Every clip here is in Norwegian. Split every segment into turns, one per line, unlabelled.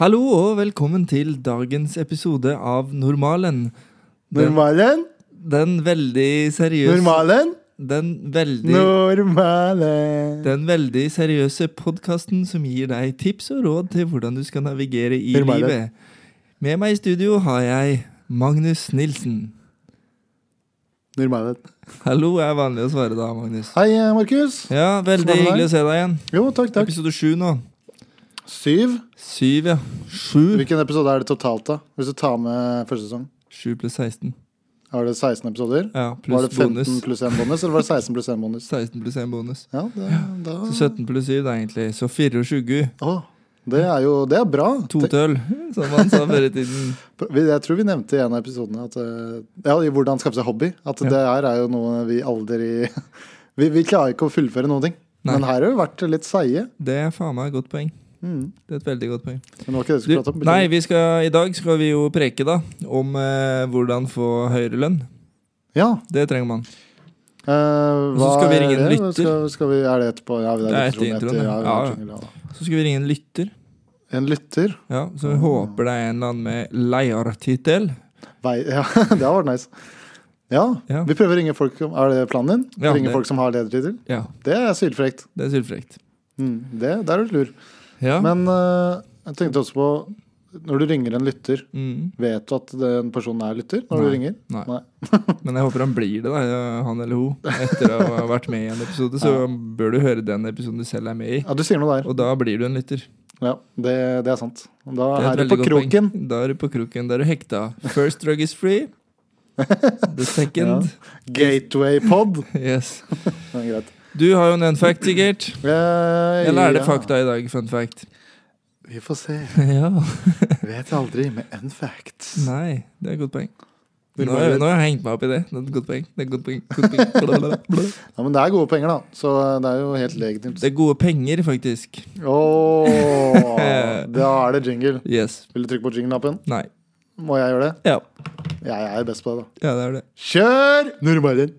Hallo og velkommen til dagens episode av Normalen. Den,
Normalen?
den veldig seriøse
Normalen?
Den veldig
Normalen.
den veldig seriøse podkasten som gir deg tips og råd til hvordan du skal navigere i
Normalen.
livet. Med meg i studio har jeg Magnus Nilsen.
Normalen.
Hallo er vanlig å svare da, Magnus.
Hei, eh, Markus.
Ja, veldig
Hvordan er det?
hyggelig å se deg igjen.
Jo, takk, takk.
Episode sju nå.
Syv.
Syv, ja. Sju.
Hvilken episode er det totalt, da? Hvis du tar med første sesong?
Sju pluss 16.
Har det 16 episoder?
Ja,
Var
pluss
det 15
bonus.
pluss 1 bonus, eller var det 16 pluss 1 bonus?
16 pluss en bonus.
Ja, det, da
Så 17 pluss 7 da, egentlig. Så 24.
Å, det er jo Det er bra.
To tøll, som man sa før i tiden.
Vi- Jeg tror vi nevnte i en av episodene at eh, Ja, i hvordan skaffe seg hobby. At det her er jo noe vi aldri Vi, vi klarer ikke å fullføre noen ting.
Nei.
Men her har vi vært litt seige.
Det er faen meg et godt poeng.
Mm.
Det er et veldig godt poeng.
Men det var ikke det vi
Du,
skulle prate om.
nei, vi skal, i dag skal vi jo preke, da, om eh, hvordan få høyere lønn.
Ja,
Det trenger man.
Eh,
så
hva
skal vi
er
ringe en
det?
lytter.
Skal, skal vi, er det etterpå? Ja,
Det
det
er
er
etter
etter
introen, ja.
etter, ja, vi
Ja,
har
ja.
jingle, ja.
Så skal vi ringe en lytter.
En lytter?
Ja,
Ah.
Så vi håper det er en eller annen med leiertittel.
Vei, ja, det hadde vært nice. Ja,
Ja.
vi prøver å ringe folk om- Er det planen din?
Ja,
ringe
det-
folk som har ledertittel?
Ja,
Det er sylfrekt.
det er sylfrekt.
Mm, det, der er du lur.
Ja.
Men eh, jeg tenkte også på Når du ringer en lytter,
Mm,
vet du at den personen er lytter? Når du
Nei.
ringer?
nei.
Nei.
Men jeg håper han blir det, da, han eller hun. Etter å ha vært med i en episode, så bør du høre den episoden du selv er med i.
Ja, du sier noe der.
Og da blir du en lytter.
Ja, det, det er sant. Da
Det
er,
et
du
veldig
på
godt poeng.
kroken.
Da er du på kroken. Da er du hekta. First drug is free. The second.
Gateway pod.
Yes.
Det er greit.
Du har jo en fact, sikkert.
Eh,
Eller er det
ja.
fakta i dag? Fun fact.
Vi får se.
ja.
Vet aldri med en fact.
Nei, det er et godt poeng.
Vil
Nå,
du bare-
nå har jeg hengt meg opp i det. Det er et godt poeng. Det er et godt poeng. Godt poeng. Bla, bla, bla, bla.
Ja, men det er gode penger, da. Så eh, det er jo helt legitimt.
Det er gode penger, faktisk.
Ååå, da er det jingle.
Yes.
Vil du trykke på jingle-knappen?
Nei.
Må jeg gjøre det?
Ja.
Ja, jeg er best på det, da.
ja, det er det.
Kjør! Normalen.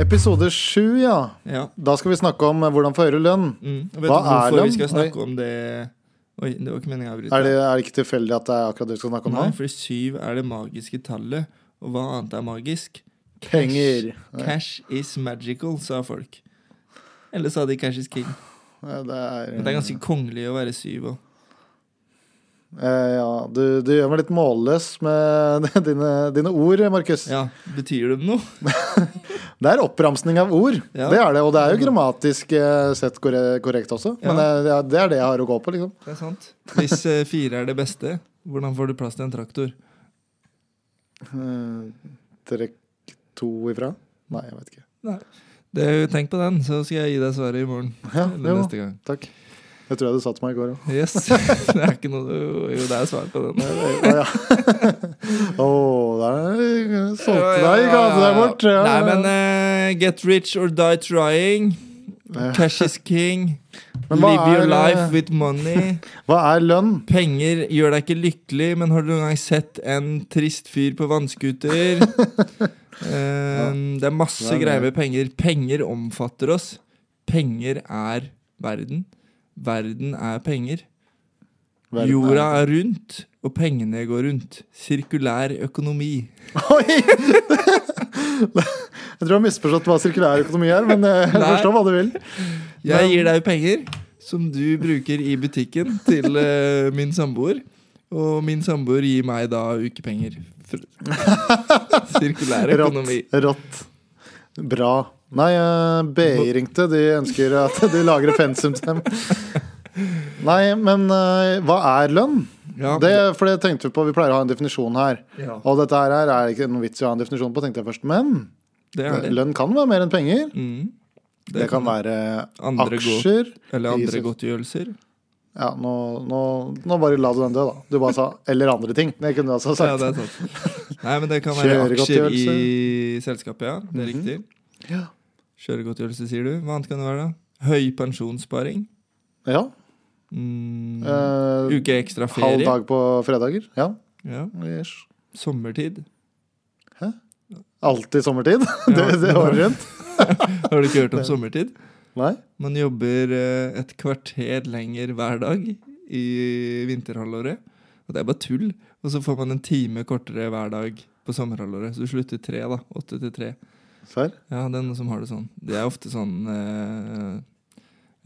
Episode sju, ja.
Ja.
Da skal vi snakke om eh, hvordan få høyere lønn.
Mm. Og Vet
Hva
du hvorfor
er
vi
den?
skal snakke om det Oi, det var ikke meningen å avbryte.
Er det, er det ikke tilfeldig at det er akkurat det vi skal snakke om nå?
Nei, fordi syv er det magiske tallet. Og hva annet er magisk?
Penger.
Cash is magical, sa folk. Eller sa de cash is king?
Eh. Ja, Det er,
Men det er ganske kongelig å være syv òg.
Eh, ja, du, du gjør meg litt målløs med dine, dine ord, Markus.
Ja, betyr det noe?
Det er oppramsning av ord,
Ja.
det er det. Og det er jo grammatisk eh, sett korre- korrekt også.
Ja.
Men eh, det er- det er det jeg har å gå på, liksom.
Det er sant. Hvis eh, fire er det beste, hvordan får du plass til en traktor?
Eh, Trekk to ifra. Nei, jeg vet ikke.
Det, er jo- tenk på den, så skal jeg gi deg svaret i morgen.
Ja,
Eller
Ah, jo,
neste gang.
takk. Det tror jeg du sa til meg i går òg.
Yes. Det er ikke noe Jo, det er svar på den.
Å ja. Å, der solgte deg gata der bort. Ja,
Nei,
ja.
men eh, get rich or die trying. Cash is king.
Men hva
Live your
er, eh,
life with money.
Hva er lønn?
Penger gjør deg ikke lykkelig, men har du noen gang sett en trist fyr på vannskuter? Eh, det er masse
Ja, det er-
greier med penger. Penger omfatter oss. Penger er verden. Verden er penger.
Verden er-
Jorda er rundt, og pengene går rundt. Sirkulær økonomi.
Oi! Jeg tror jeg har misforstått hva sirkulær økonomi er, men eh, jeg
Nei.
forstår hva du vil.
Jeg gir deg penger som du bruker i butikken til eh, min samboer. Og min samboer gir meg da ukepenger. Fr- Sirkulær
Rått.
økonomi.
Rått. Bra. Nei, eh, BI ringte. De ønsker at de lagrer pensum til dem. Nei, men eh, hva er lønn?
Ja.
Det, for det tenkte vi på. Vi pleier å ha en definisjon her.
Ja.
Og dette her er det ikke noen vits i å ha en definisjon på, tenkte jeg først. Men
Det er det.
lønn kan være mer enn penger.
Mm.
Det kan være
Andre go-
aksjer.
Eller
i
andre
selskap.
godtgjørelser.
Ja, nå, nå, nå bare la du den dø, da. Du bare sa 'eller andre ting'. Det kunne du altså
Ja,
sagt.
det er sant. Nei, men det kan være aksjer i
Kjøregodtgjørelse. Mhm.
selskapet, ja. Det er riktig.
Ja.
Kjøregodtgjørelse, sier du. Hva annet kan det være, da? Høy pensjonssparing.
Ja.
Mm,
Eh,
uke ekstra
halv
ferie.
dag på fredager. Ja.
Ja.
Yes.
Sommertid.
Alltid sommertid. det,
Ja.
det er året rundt.
Har du ikke hørt om sommertid?
Nei?
Man jobber eh, et kvarter lenger hver dag i vinterhalvåret. Og det er bare tull. Og så får man en time kortere hver dag på sommerhalvåret. Så du slutter tre, da. Åtte til tre.
Serr?
Ja, det er noen som har det sånn. Det er ofte sånn eh,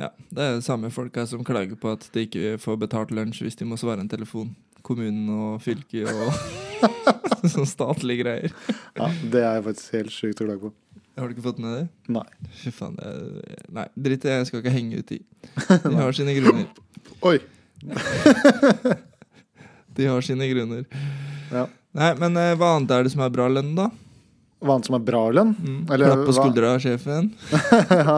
Ja, det er de samme folka som klager på at de ikke får betalt lunsj hvis de må svare en telefon. Kommunen og fylket og sånn statlige greier.
Ja, det er jeg faktisk helt sjukt å klage på.
Har du ikke fått med det?
Nei.
Fy faen. det er- Nei, dritt i det. Jeg skal ikke henge ut i. De har sine grunner.
Oi!
De har sine grunner.
Ja.
Nei, men eh, hva annet er det som er bra lønn, da?
Hva annet som er bra lønn?
Mm.
Eller
Klapp på
hva-
skuldra av sjefen.
ja.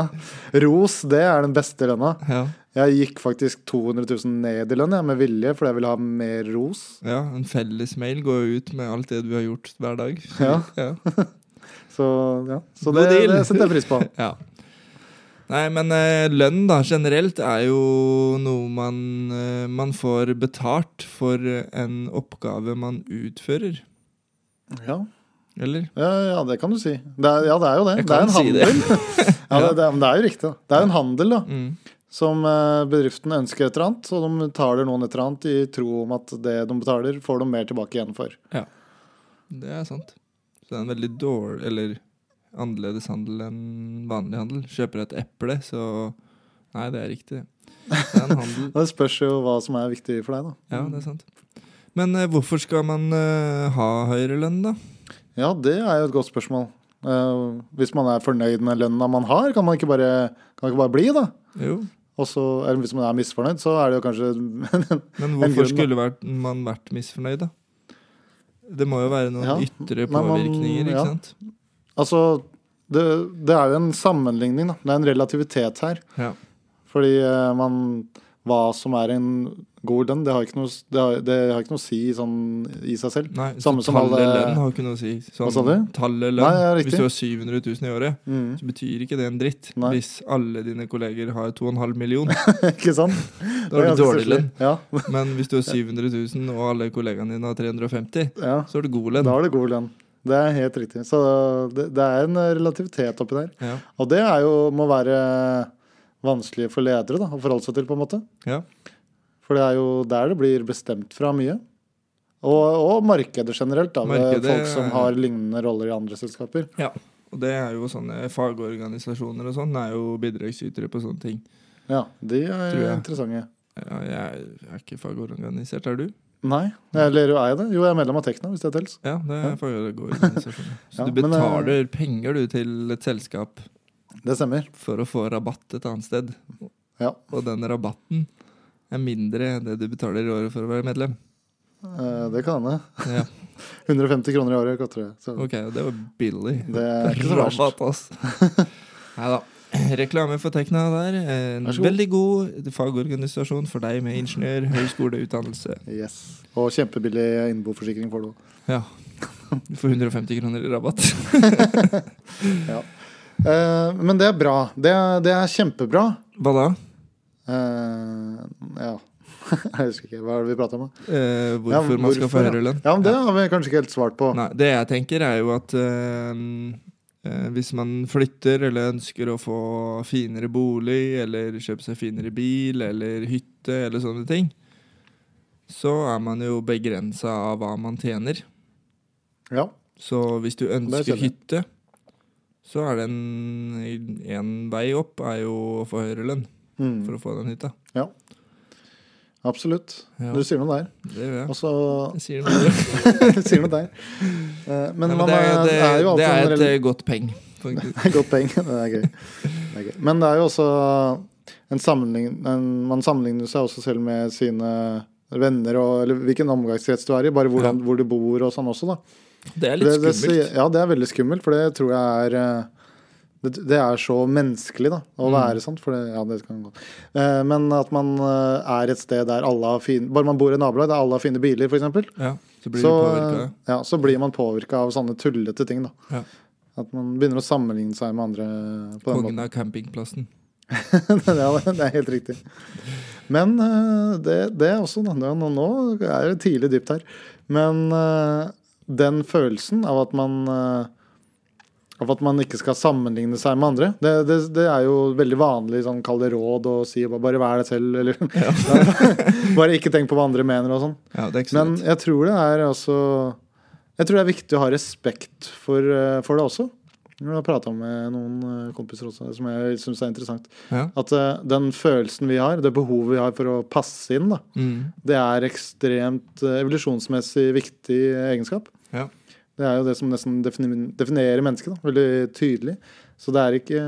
Ros, det er den beste lønna.
Ja.
Jeg gikk faktisk 200 000 ned i lønn jeg, med vilje, fordi jeg ville ha mer ros.
ja, en fellesmail går jo ut med alt det du har gjort hver dag.
Ja.
ja.
Så, ja. så
God
det,
deal.
det setter jeg pris på.
Ja. Nei, men eh, lønn da, generelt er jo noe man, eh, man får betalt for eh, en oppgave man utfører.
Ja,
Eller?
ja, ja det kan du si. Det er, ja, det er jo det.
Jeg
Det er
kan
en
si det.
handel. ja, det, det, er- men det er jo riktig. da. Det er jo en handel da,
Mm.
som eh, bedriften ønsker et eller annet, og de betaler noen et eller annet i tro om at det de betaler, får de mer tilbake igjen for.
Det er sant. Så det er en veldig dårlig Eller annerledes handel enn vanlig handel. Kjøper jeg et eple, så Nei, det er riktig. Det er en handel.
Det spørs jo hva som er viktig for deg,
Ja,
da.
det er sant. Men eh, hvorfor skal man eh, ha høyere lønn, da?
Ja, det er jo et godt spørsmål. Eh, hvis man er fornøyd med lønna man har, kan man ikke bare, kan man ikke bare bli, da?
Jo,
Og så, eller hvis man er misfornøyd, så er det jo kanskje
men
En
hvorfor
grunn, da.
skulle vært, man vært misfornøyd, da? Det må jo være noen
Ja,
ytre
men man-
påvirkninger, ikke
ja.
sant?
Altså, det, det er jo en sammenligning, da. Det er en relativitet her.
Ja.
Fordi eh, man Hva som er en god lønn, det har ikke noe, det har, det har ikke noe å si sånn i seg selv.
Nei,
Samme
så
som
tallet
alle-
lønn har jo ikke noe å si. Sånn,
Hva sa du?
Tallet lønn.
Nei, ja, riktig.
Hvis du har 700 000 i året,
Mm,
så betyr ikke det en dritt.
Nei.
Hvis alle dine kolleger har 2,5 million,
ikke sant?
Da har
Det er
du
ganske
dårlig lønn.
stusslig. Ja,
Men hvis du har 700 000, og alle kollegaene dine har 350,
ja,
så har du god
da
lønn.
har du god lønn. Det er helt riktig. Så det, det er en relativitet oppi der.
Ja.
Og det er jo, må være vanskelig for ledere da, å forholde seg til, på en måte.
Ja.
For det er jo der det blir bestemt fra mye. Og, og markedet generelt, da, med
Markedet
folk som
er-
har lignende roller i andre selskaper.
Og det er jo sånne fagorganisasjoner og sånn, er jo bidragsytere på sånne ting.
Ja, de er
Tror jeg.
interessante.
Ja, jeg er ikke fagorganisert, er du?
Nei, eller jo, er jeg det? Jo, jeg er medlem av Tekna, hvis det tels.
Ja, det er
Ja.
fagorganisasjoner. Så
Ja,
du
men, eh,
betaler penger du til et selskap
Det stemmer.
for å få rabatt et annet sted.
Ja.
Og den rabatten er mindre enn det du betaler i året for å være medlem.
Eh, Det kan hende.
Ja,
150 kroner i året koster det. Så
ok, det var billig.
det er ikke så verst.
Rabatt, ass. Nei da. Reklame for Tekna der. En
Vær så god.
veldig god fagorganisasjon for deg med ingeniør, høyskoleutdannelse.
Yes. Og kjempebillig innboforsikring får du òg.
Ja. Du får 150 kroner i rabatt.
Eh, Men det er bra. Det er, det er kjempebra.
Hva da?
Eh, Ja. Jeg husker ikke. Hva er det vi prater om? da?
Eh, hvorfor,
Ja, men
man skal få
hvorfor,
høyere lønn?
Ja, men Det har vi kanskje ikke helt svart på.
Nei, det jeg tenker, er jo at eh, eh, hvis man flytter eller ønsker å få finere bolig, eller kjøpe seg finere bil eller hytte eller sånne ting, så er man jo begrensa av hva man tjener.
Ja.
Så hvis du ønsker
skjønner jeg.
hytte, så er det en, en vei opp er jo å få høyere lønn
Mm.
for å få den hytta.
Absolutt.
Ja,
Du sier noe der.
det gjør jeg.
Og så
Jeg sier noe.
sier noe der. Eh, Men,
Nei,
man
men det, er-
er-
det,
er jo alltid
det
en
er
rel-
et eh, godt peng. faktisk.
Godt poeng. Det er gøy. Det er gøy. Men det er jo også en sammenlign... En, man sammenligner seg også selv med sine venner og eller hvilken omgangskrets du er i, bare hvordan, hvor du bor og sånn også, da.
Det er litt
Det- det
skummelt.
sier- ja, det er veldig skummelt, for det tror jeg er eh, det, det er så menneskelig, da, å
Mm.
være sånn. For det, ja, det kan gå. Eh, Men at man eh, er et sted der alle har fine Bare man bor i nabolag der alle har fine biler, f.eks.
Ja, så blir
Så,
du påvirka.
ja, så blir man påvirka av sånne tullete ting, da.
Ja.
At man begynner å sammenligne seg med andre på den måten.
Kongen av campingplassen.
ja, det er helt riktig. Men eh, det, det er også Nå, nå nå er det tidlig dypt her. Men eh, den følelsen av at man eh, Av at man ikke skal sammenligne seg med andre, det, det, det er jo veldig vanlig sånn kall det råd og si bare, bare vær deg selv, eller Bare ikke tenk på hva andre mener og sånn.
Ja, det er ikke så
Men
lett.
jeg tror det er altså Jeg tror det er viktig å ha respekt for, eh, for det også. Jeg har prata med noen eh, kompiser også, som jeg syns er interessant.
Ja.
At eh, den følelsen vi har, det behovet vi har for å passe inn, da,
Mm.
det er ekstremt eh, evolusjonsmessig viktig egenskap.
Ja.
Det er jo det som nesten defini- definerer mennesket, da, veldig tydelig. Så det er ikke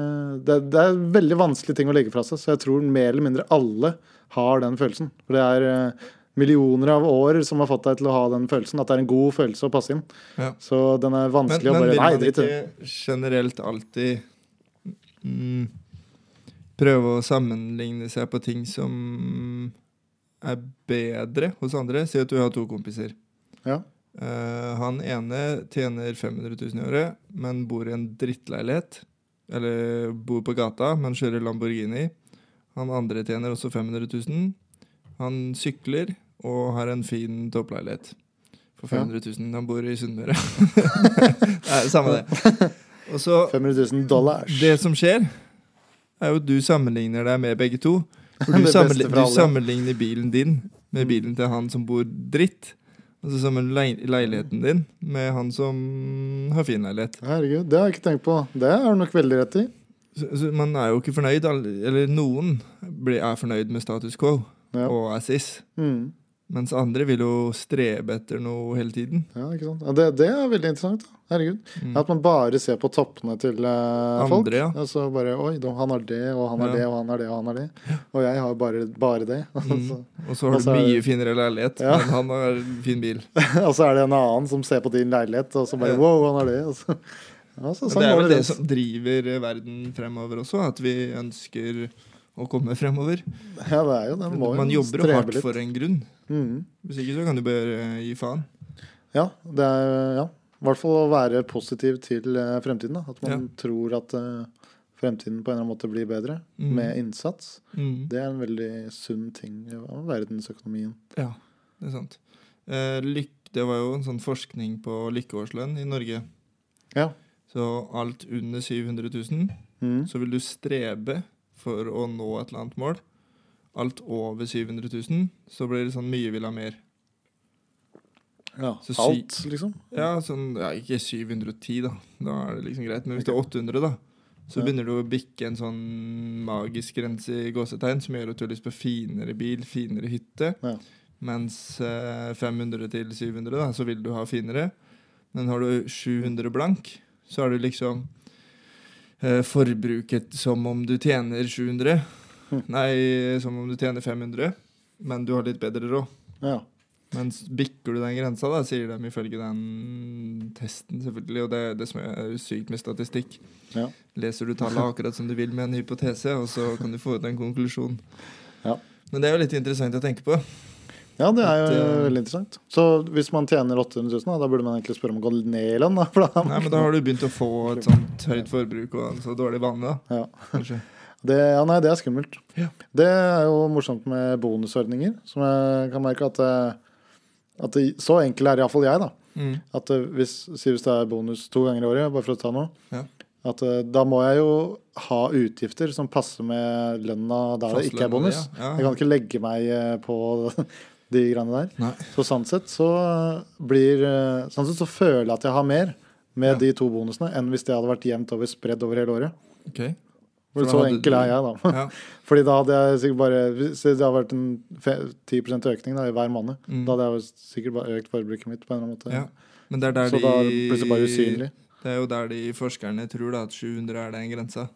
det, er- det er veldig vanskelig ting å legge fra seg. Så jeg tror mer eller mindre alle har den følelsen. For det er eh, millioner av år som har fått deg til å ha den følelsen. At det er en god følelse å passe inn.
Ja.
Så den er
Men,
vanskelig
men
å
vil
bare Nei,
man
drit i det.
ikke generelt alltid mm, prøve å sammenligne seg på ting som er bedre hos andre? Si at du har to kompiser.
Ja.
Eh, han ene tjener 500 000 i året, men bor i en drittleilighet. Eller bor på gata, men kjører Lamborghini. Han andre tjener også 500 000. Han sykler og har en fin toppleilighet. For
Ja.
500 000. Han bor i Sunnmøre. Nei, samme det. Og så
500 000 dollars.
Det som skjer, er jo at du sammenligner deg med begge to. For
Det
du,
beste
sammenli-
for
du
alle. Mm.
sammenligner bilen din med bilen til han som bor dritt. Og så sammenligner leil- leiligheten din med han som har fin leilighet.
Herregud, det har jeg ikke tenkt på. Det har du nok veldig rett i.
Så, så man er jo ikke fornøyd. alle- Eller noen blir, er fornøyd med status quo
Ja.
og er sis.
Mm.
Mens andre vil jo strebe etter noe hele tiden.
Ja, ikke sant? Ja, det, det er veldig interessant. da. Herregud.
Mm.
At man bare ser på toppene til eh, folk.
Andre, ja.
Og så bare Oi, da, han har det, og han har
Ja.
det, og han har det, og han har det. Og jeg har bare, bare det.
Mm. Og så
Og
har du
så er
mye
det-
finere leilighet,
altså. Ja.
men han har fin bil.
og så er det en annen som ser på din leilighet, og så bare
Ja.
Wow, han har det. Og så, ja,
Men
så, sånn
det er
går
vel
det
det
rundt.
som driver eh, verden fremover også, at vi ønsker å komme fremover.
Ja, det er jo det. Man må jo
Man jobber jo
strebe
hardt
litt.
for en grunn.
Mhm.
Hvis ikke så kan du bare eh, gi faen.
Ja, det er ja. I hvert fall å være positiv til eh, fremtiden. Da. At man tror at eh, fremtiden på en eller annen måte blir bedre
Mhm.
med innsats.
Mm.
Det er en veldig sunn ting av verdensøkonomien.
Ja, det er sant. Eh, lyk, det var jo en sånn forskning på lykkeårslønn i Norge.
Ja.
Så alt under 700 000,
Mhm.
så vil du strebe for å nå et eller annet mål. Alt over 700 000, så blir det sånn mye vil ha mer.
Ja,
Så sy-
alt, liksom.
Ja, sånn, ja, ikke 710, da. Da er det liksom greit. Men hvis det er 800, da, så
Ja.
begynner du å bikke en sånn magisk grense i gåsetegn som gjør at du har lyst på finere bil, finere hytte.
Ja.
Mens eh, 500 til 700, da, så vil du ha finere. Men har du 700 blank, så er du liksom eh, forbruket som om du tjener 700.
Hm.
Nei, som om du tjener 500, men du har litt bedre råd.
Ja.
Men s- bikker du den grensa, da, sier de ifølge den testen, selvfølgelig, og det, det som er sykt med statistikk.
Ja.
Leser du tallet akkurat som du vil med en hypotese, og så kan du få ut en konklusjon.
Ja.
Men det er jo litt interessant å tenke på.
ja, det er jo
At, eh,
veldig interessant. Så hvis man tjener 800 000, da, da burde man egentlig spørre om å gå ned i lønn. Da, for da
Nei, men da har du begynt å få et sånt høyt forbruk og en så dårlig vane, da.
Ja.
Kanskje.
det, ja, nei, det er skummelt.
Ja.
Det er jo morsomt med bonusordninger, som jeg kan merke at, eh, at det, Så enkel er iallfall jeg, da.
Mm.
At eh, hvis, si hvis det er bonus to ganger i året, bare for å ta noe,
Ja.
at eh, da må jeg jo ha utgifter som passer med lønna der det ikke
Fastlønna,
er bonus.
Ja. Ja.
Jeg kan ikke legge meg eh, på de greiene der.
Nei.
Så sånn sett så blir eh, Sånn sett så føler jeg at jeg har mer med
Ja.
de to bonusene enn hvis det hadde vært jevnt over spredd over hele året.
Ok. For
For
da
så
hadde
enkel
du-
er jeg, da.
Ja.
Fordi da hadde jeg sikkert bare Hvis det hadde vært en fe- 10 økning da, i hver måned,
Mm.
da hadde jeg jo sikkert bare økt forbruket mitt på en eller annen måte.
ja. Men det er der
så da er det
de-
plutselig bare usynlig.
Det er jo der de forskerne tror da, at 700 er den grensa.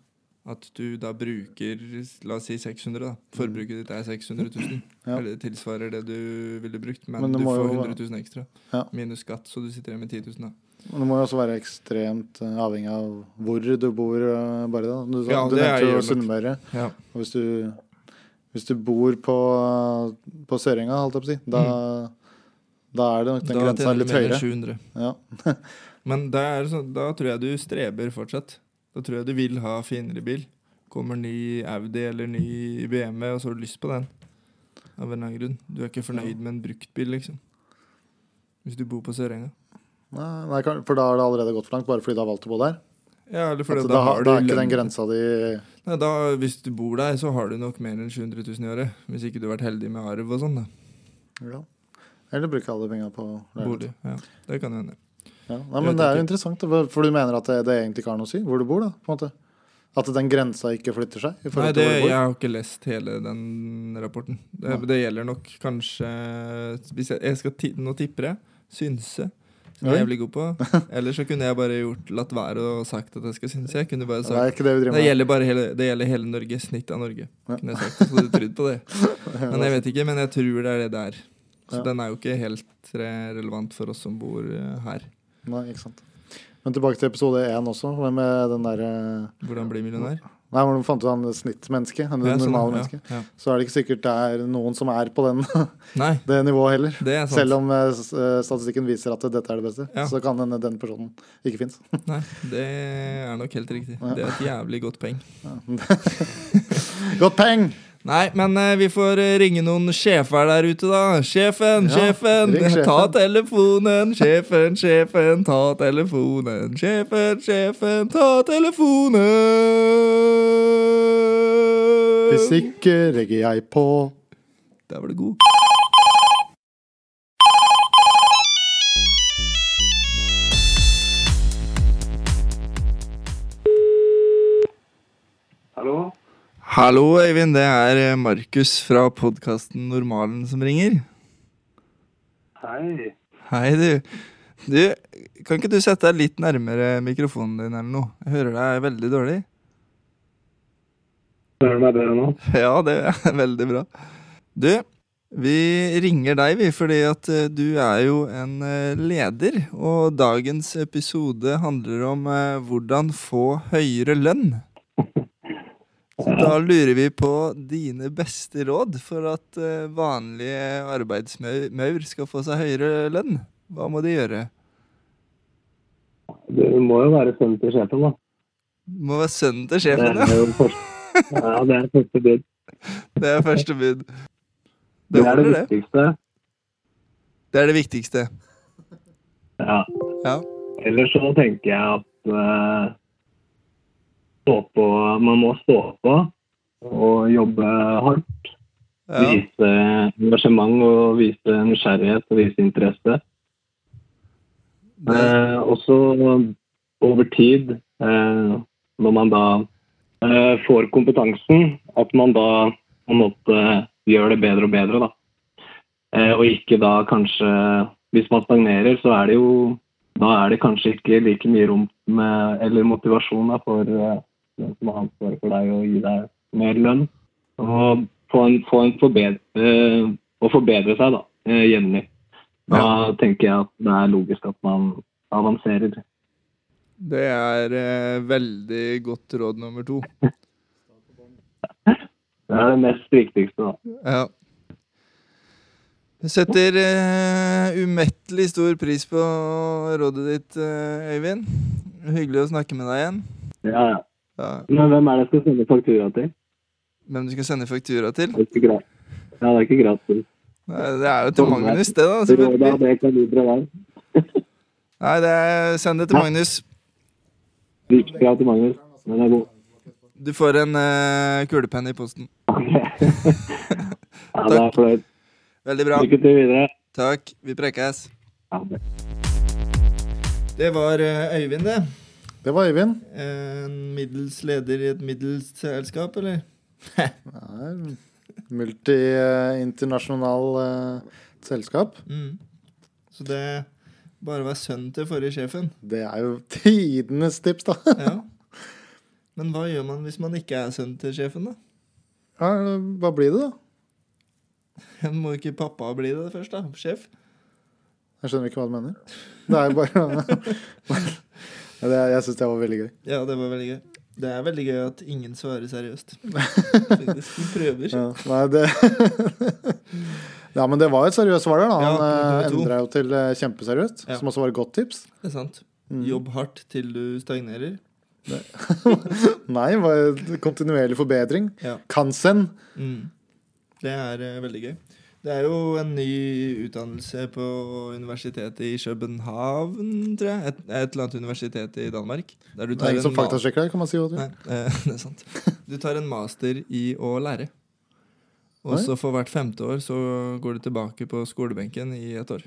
At du da bruker la oss si 600. da. Forbruket ditt er 600 000.
Ja.
Eller det tilsvarer det du ville brukt, men,
Men det
du
må
får
jo
100 000 ekstra.
Ja.
Minus skatt, så du sitter igjen med 10 000. Da.
Men det må jo også være ekstremt eh, avhengig av hvor du bor, eh, bare da. Du,
Ja,
du
det er
nevnte
jo
jo
nok-
Sunnmøre.
Ja.
Og hvis du, hvis du bor på, på Sørenga, holdt jeg på å si, da, da er det nok den
Mm. Da
grensa
tjener du
litt
mer enn
høyere.
700.
Ja.
Men det er sånn, da tror jeg du streber fortsatt. Da tror jeg du vil ha finere bil. Kommer ny Audi eller ny BMW, og så har du lyst på den. Av en eller annen grunn. Du er ikke fornøyd med en bruktbil, liksom. Hvis du bor på Sørenga.
Nei, nei, kan- for da har det allerede gått for langt, bare fordi du har valgt å bo der?
Ja, eller
At
fordi
Altså, da,
da har du
da er ikke
lønn-
den grensa di
Nei, da, Hvis du bor der, så har du nok mer enn 700 000 i året. Hvis ikke du har vært heldig med arv og sånn, da.
ja. Eller bruke alle penga på leilighet.
Bolig. Ja, det kan jo hende.
Ja. Nei,
Jeg
men
vet
det er jo
ikke.
interessant, da, for du mener at det, det egentlig ikke har noe å si hvor du bor? da, på en måte At den grensa ikke flytter seg? i
Nei, det,
forhold til
jeg
hvor du bor?
har ikke lest hele den rapporten. Det,
Nei.
det gjelder nok kanskje hvis jeg, jeg skal ti, Nå tipper jeg. Synse. Som jeg
Oi.
er jævlig god på. Ellers så kunne jeg bare gjort, latt være og sagt at jeg skal synse. Jeg kunne bare
Det er
sagt
ikke det vi driver
det
med.
gjelder, bare hele, det gjelder hele Norge. Snitt av Norge.
Ja.
Kunne jeg sagt, så du trodde på det. Men jeg vet ikke, men jeg tror det er det det er. Så
Ja.
den er jo ikke helt eh, relevant for oss som bor eh, her.
Nei, ikke sant. Men tilbake til episode én også, med- med den eh, derre
Hvordan bli millionær.
Nei, hvordan fant du han snittmennesket? Det
Ja, sånn, ja,
normale mennesket.
ja.
Så er det ikke sikkert det er noen som er på den,
Nei,
det nivået heller.
det er sant.
Selv om eh, s- eh, statistikken viser at dette er det beste,
Ja.
så kan hende den personen ikke fins.
Nei, det er nok helt riktig.
Ja.
Det er et jævlig godt poeng.
Godt peng!
Nei, men eh, vi får eh, ringe noen sjefer der ute, da. Sjefen,
Ja,
sjefen,
ring sjefen.
ta telefonen. Sjefen, sjefen, ta telefonen. Sjefen, sjefen, ta telefonen.
Hvis ikke legger jeg på
Der var du god.
Hallo?
Hallo, Øyvind. Det er eh, Markus fra podkasten Normalen som ringer.
Hei.
Hei, du. Du, kan ikke du sette deg litt nærmere mikrofonen din eller noe? Jeg hører deg veldig dårlig.
Hører du meg bedre nå?
Ja, det er veldig bra. Du, vi ringer deg, vi, fordi at eh, du er jo en eh, leder. Og dagens episode handler om eh, hvordan få høyere lønn. Så da lurer vi på dine beste råd for at eh, vanlige arbeidsmaur skal få seg høyere lønn. Hva må de gjøre?
Du må jo være sønnen til sjefen, da.
Må være sønnen til
Det
sjefen,
er
ja.
jo første, ja, det er første bud.
Det er første bud.
Det
Det
er det
holder, det.
viktigste.
Det er det viktigste.
Ja.
Ja.
Ellers så tenker jeg at eh, stå på, man må stå på og jobbe hardt.
ja.
Vise engasjement og vise nysgjerrighet og vise interesse.
Det,
Eh, også over tid, eh, når man da eh, får kompetansen, at man da på en måte gjør det bedre og bedre, da. Eh, og ikke da kanskje Hvis man stagnerer, så er det jo Da er det kanskje ikke like mye rom med, eller motivasjon da, for eh, den som har ansvaret for deg, å gi deg mer lønn. Og få en, få en forbedre, eh, å forbedre seg, da, eh, jevnlig. Da tenker jeg at det er logisk at man avanserer.
Det er eh, veldig godt råd nummer to.
Det er det mest viktigste, da.
Ja. Jeg setter eh, umettelig stor pris på rådet ditt, eh, Øyvind. Hyggelig å snakke med deg igjen.
Ja, ja.
Ja.
Men hvem er det jeg skal sende faktura til?
Hvem du skal sende faktura til?
Det er ikke gratis. Ja, det er ikke gratis.
Nei, Det er jo til Magnus, Altså, det, da.
Rådet
selvfølgelig.
det kan du dra der.
Nei, det er, send det til Magnus.
Rikskrat til Magnus, men det er god.
Du får en eh, kulepenn i posten.
Ok. Ja, det er flaut.
Veldig bra.
Lykke til videre.
Takk. Vi prekes.
Ja, det.
Det var eh, Øyvind, det.
Det var Øyvind.
En middels leder i et middels selskap, eller?
Multiinternasjonal uh, selskap.
Mm. Så det bare var sønnen til forrige sjefen.
Det er jo tidenes tips, da.
Ja. Men hva gjør man hvis man ikke er sønnen til sjefen, da?
Ja, hva blir det, da?
Må ikke pappa bli det først, da? Sjef?
Jeg skjønner ikke hva du mener. Det er jo bare Ja, det, er- Jeg syns det var veldig gøy.
Ja, det var veldig gøy. Det er veldig gøy at ingen svarer seriøst. Faktisk, De prøver.
Ja, nei, det Ja, men det var et seriøst svar der, da. Han
Ja,
ja,
det var to.
endra jo til eh, kjempeseriøst,
Ja.
som også var et godt tips.
Det er sant.
Mm.
Jobb hardt til du stagnerer.
Nei, bare kontinuerlig forbedring.
Ja.
Kansen.
Mm. Det er eh, veldig gøy. Det er jo en ny utdannelse på universitetet i København, tror jeg. Et, et eller annet universitet i Danmark. Der du
Det er ingen som
ma-
faktasjekker det, kan man si. Oddvar.
Nei, eh, det er sant. Du tar en master i å lære. Og
Oi.
så for hvert femte år så går du tilbake på skolebenken i et år.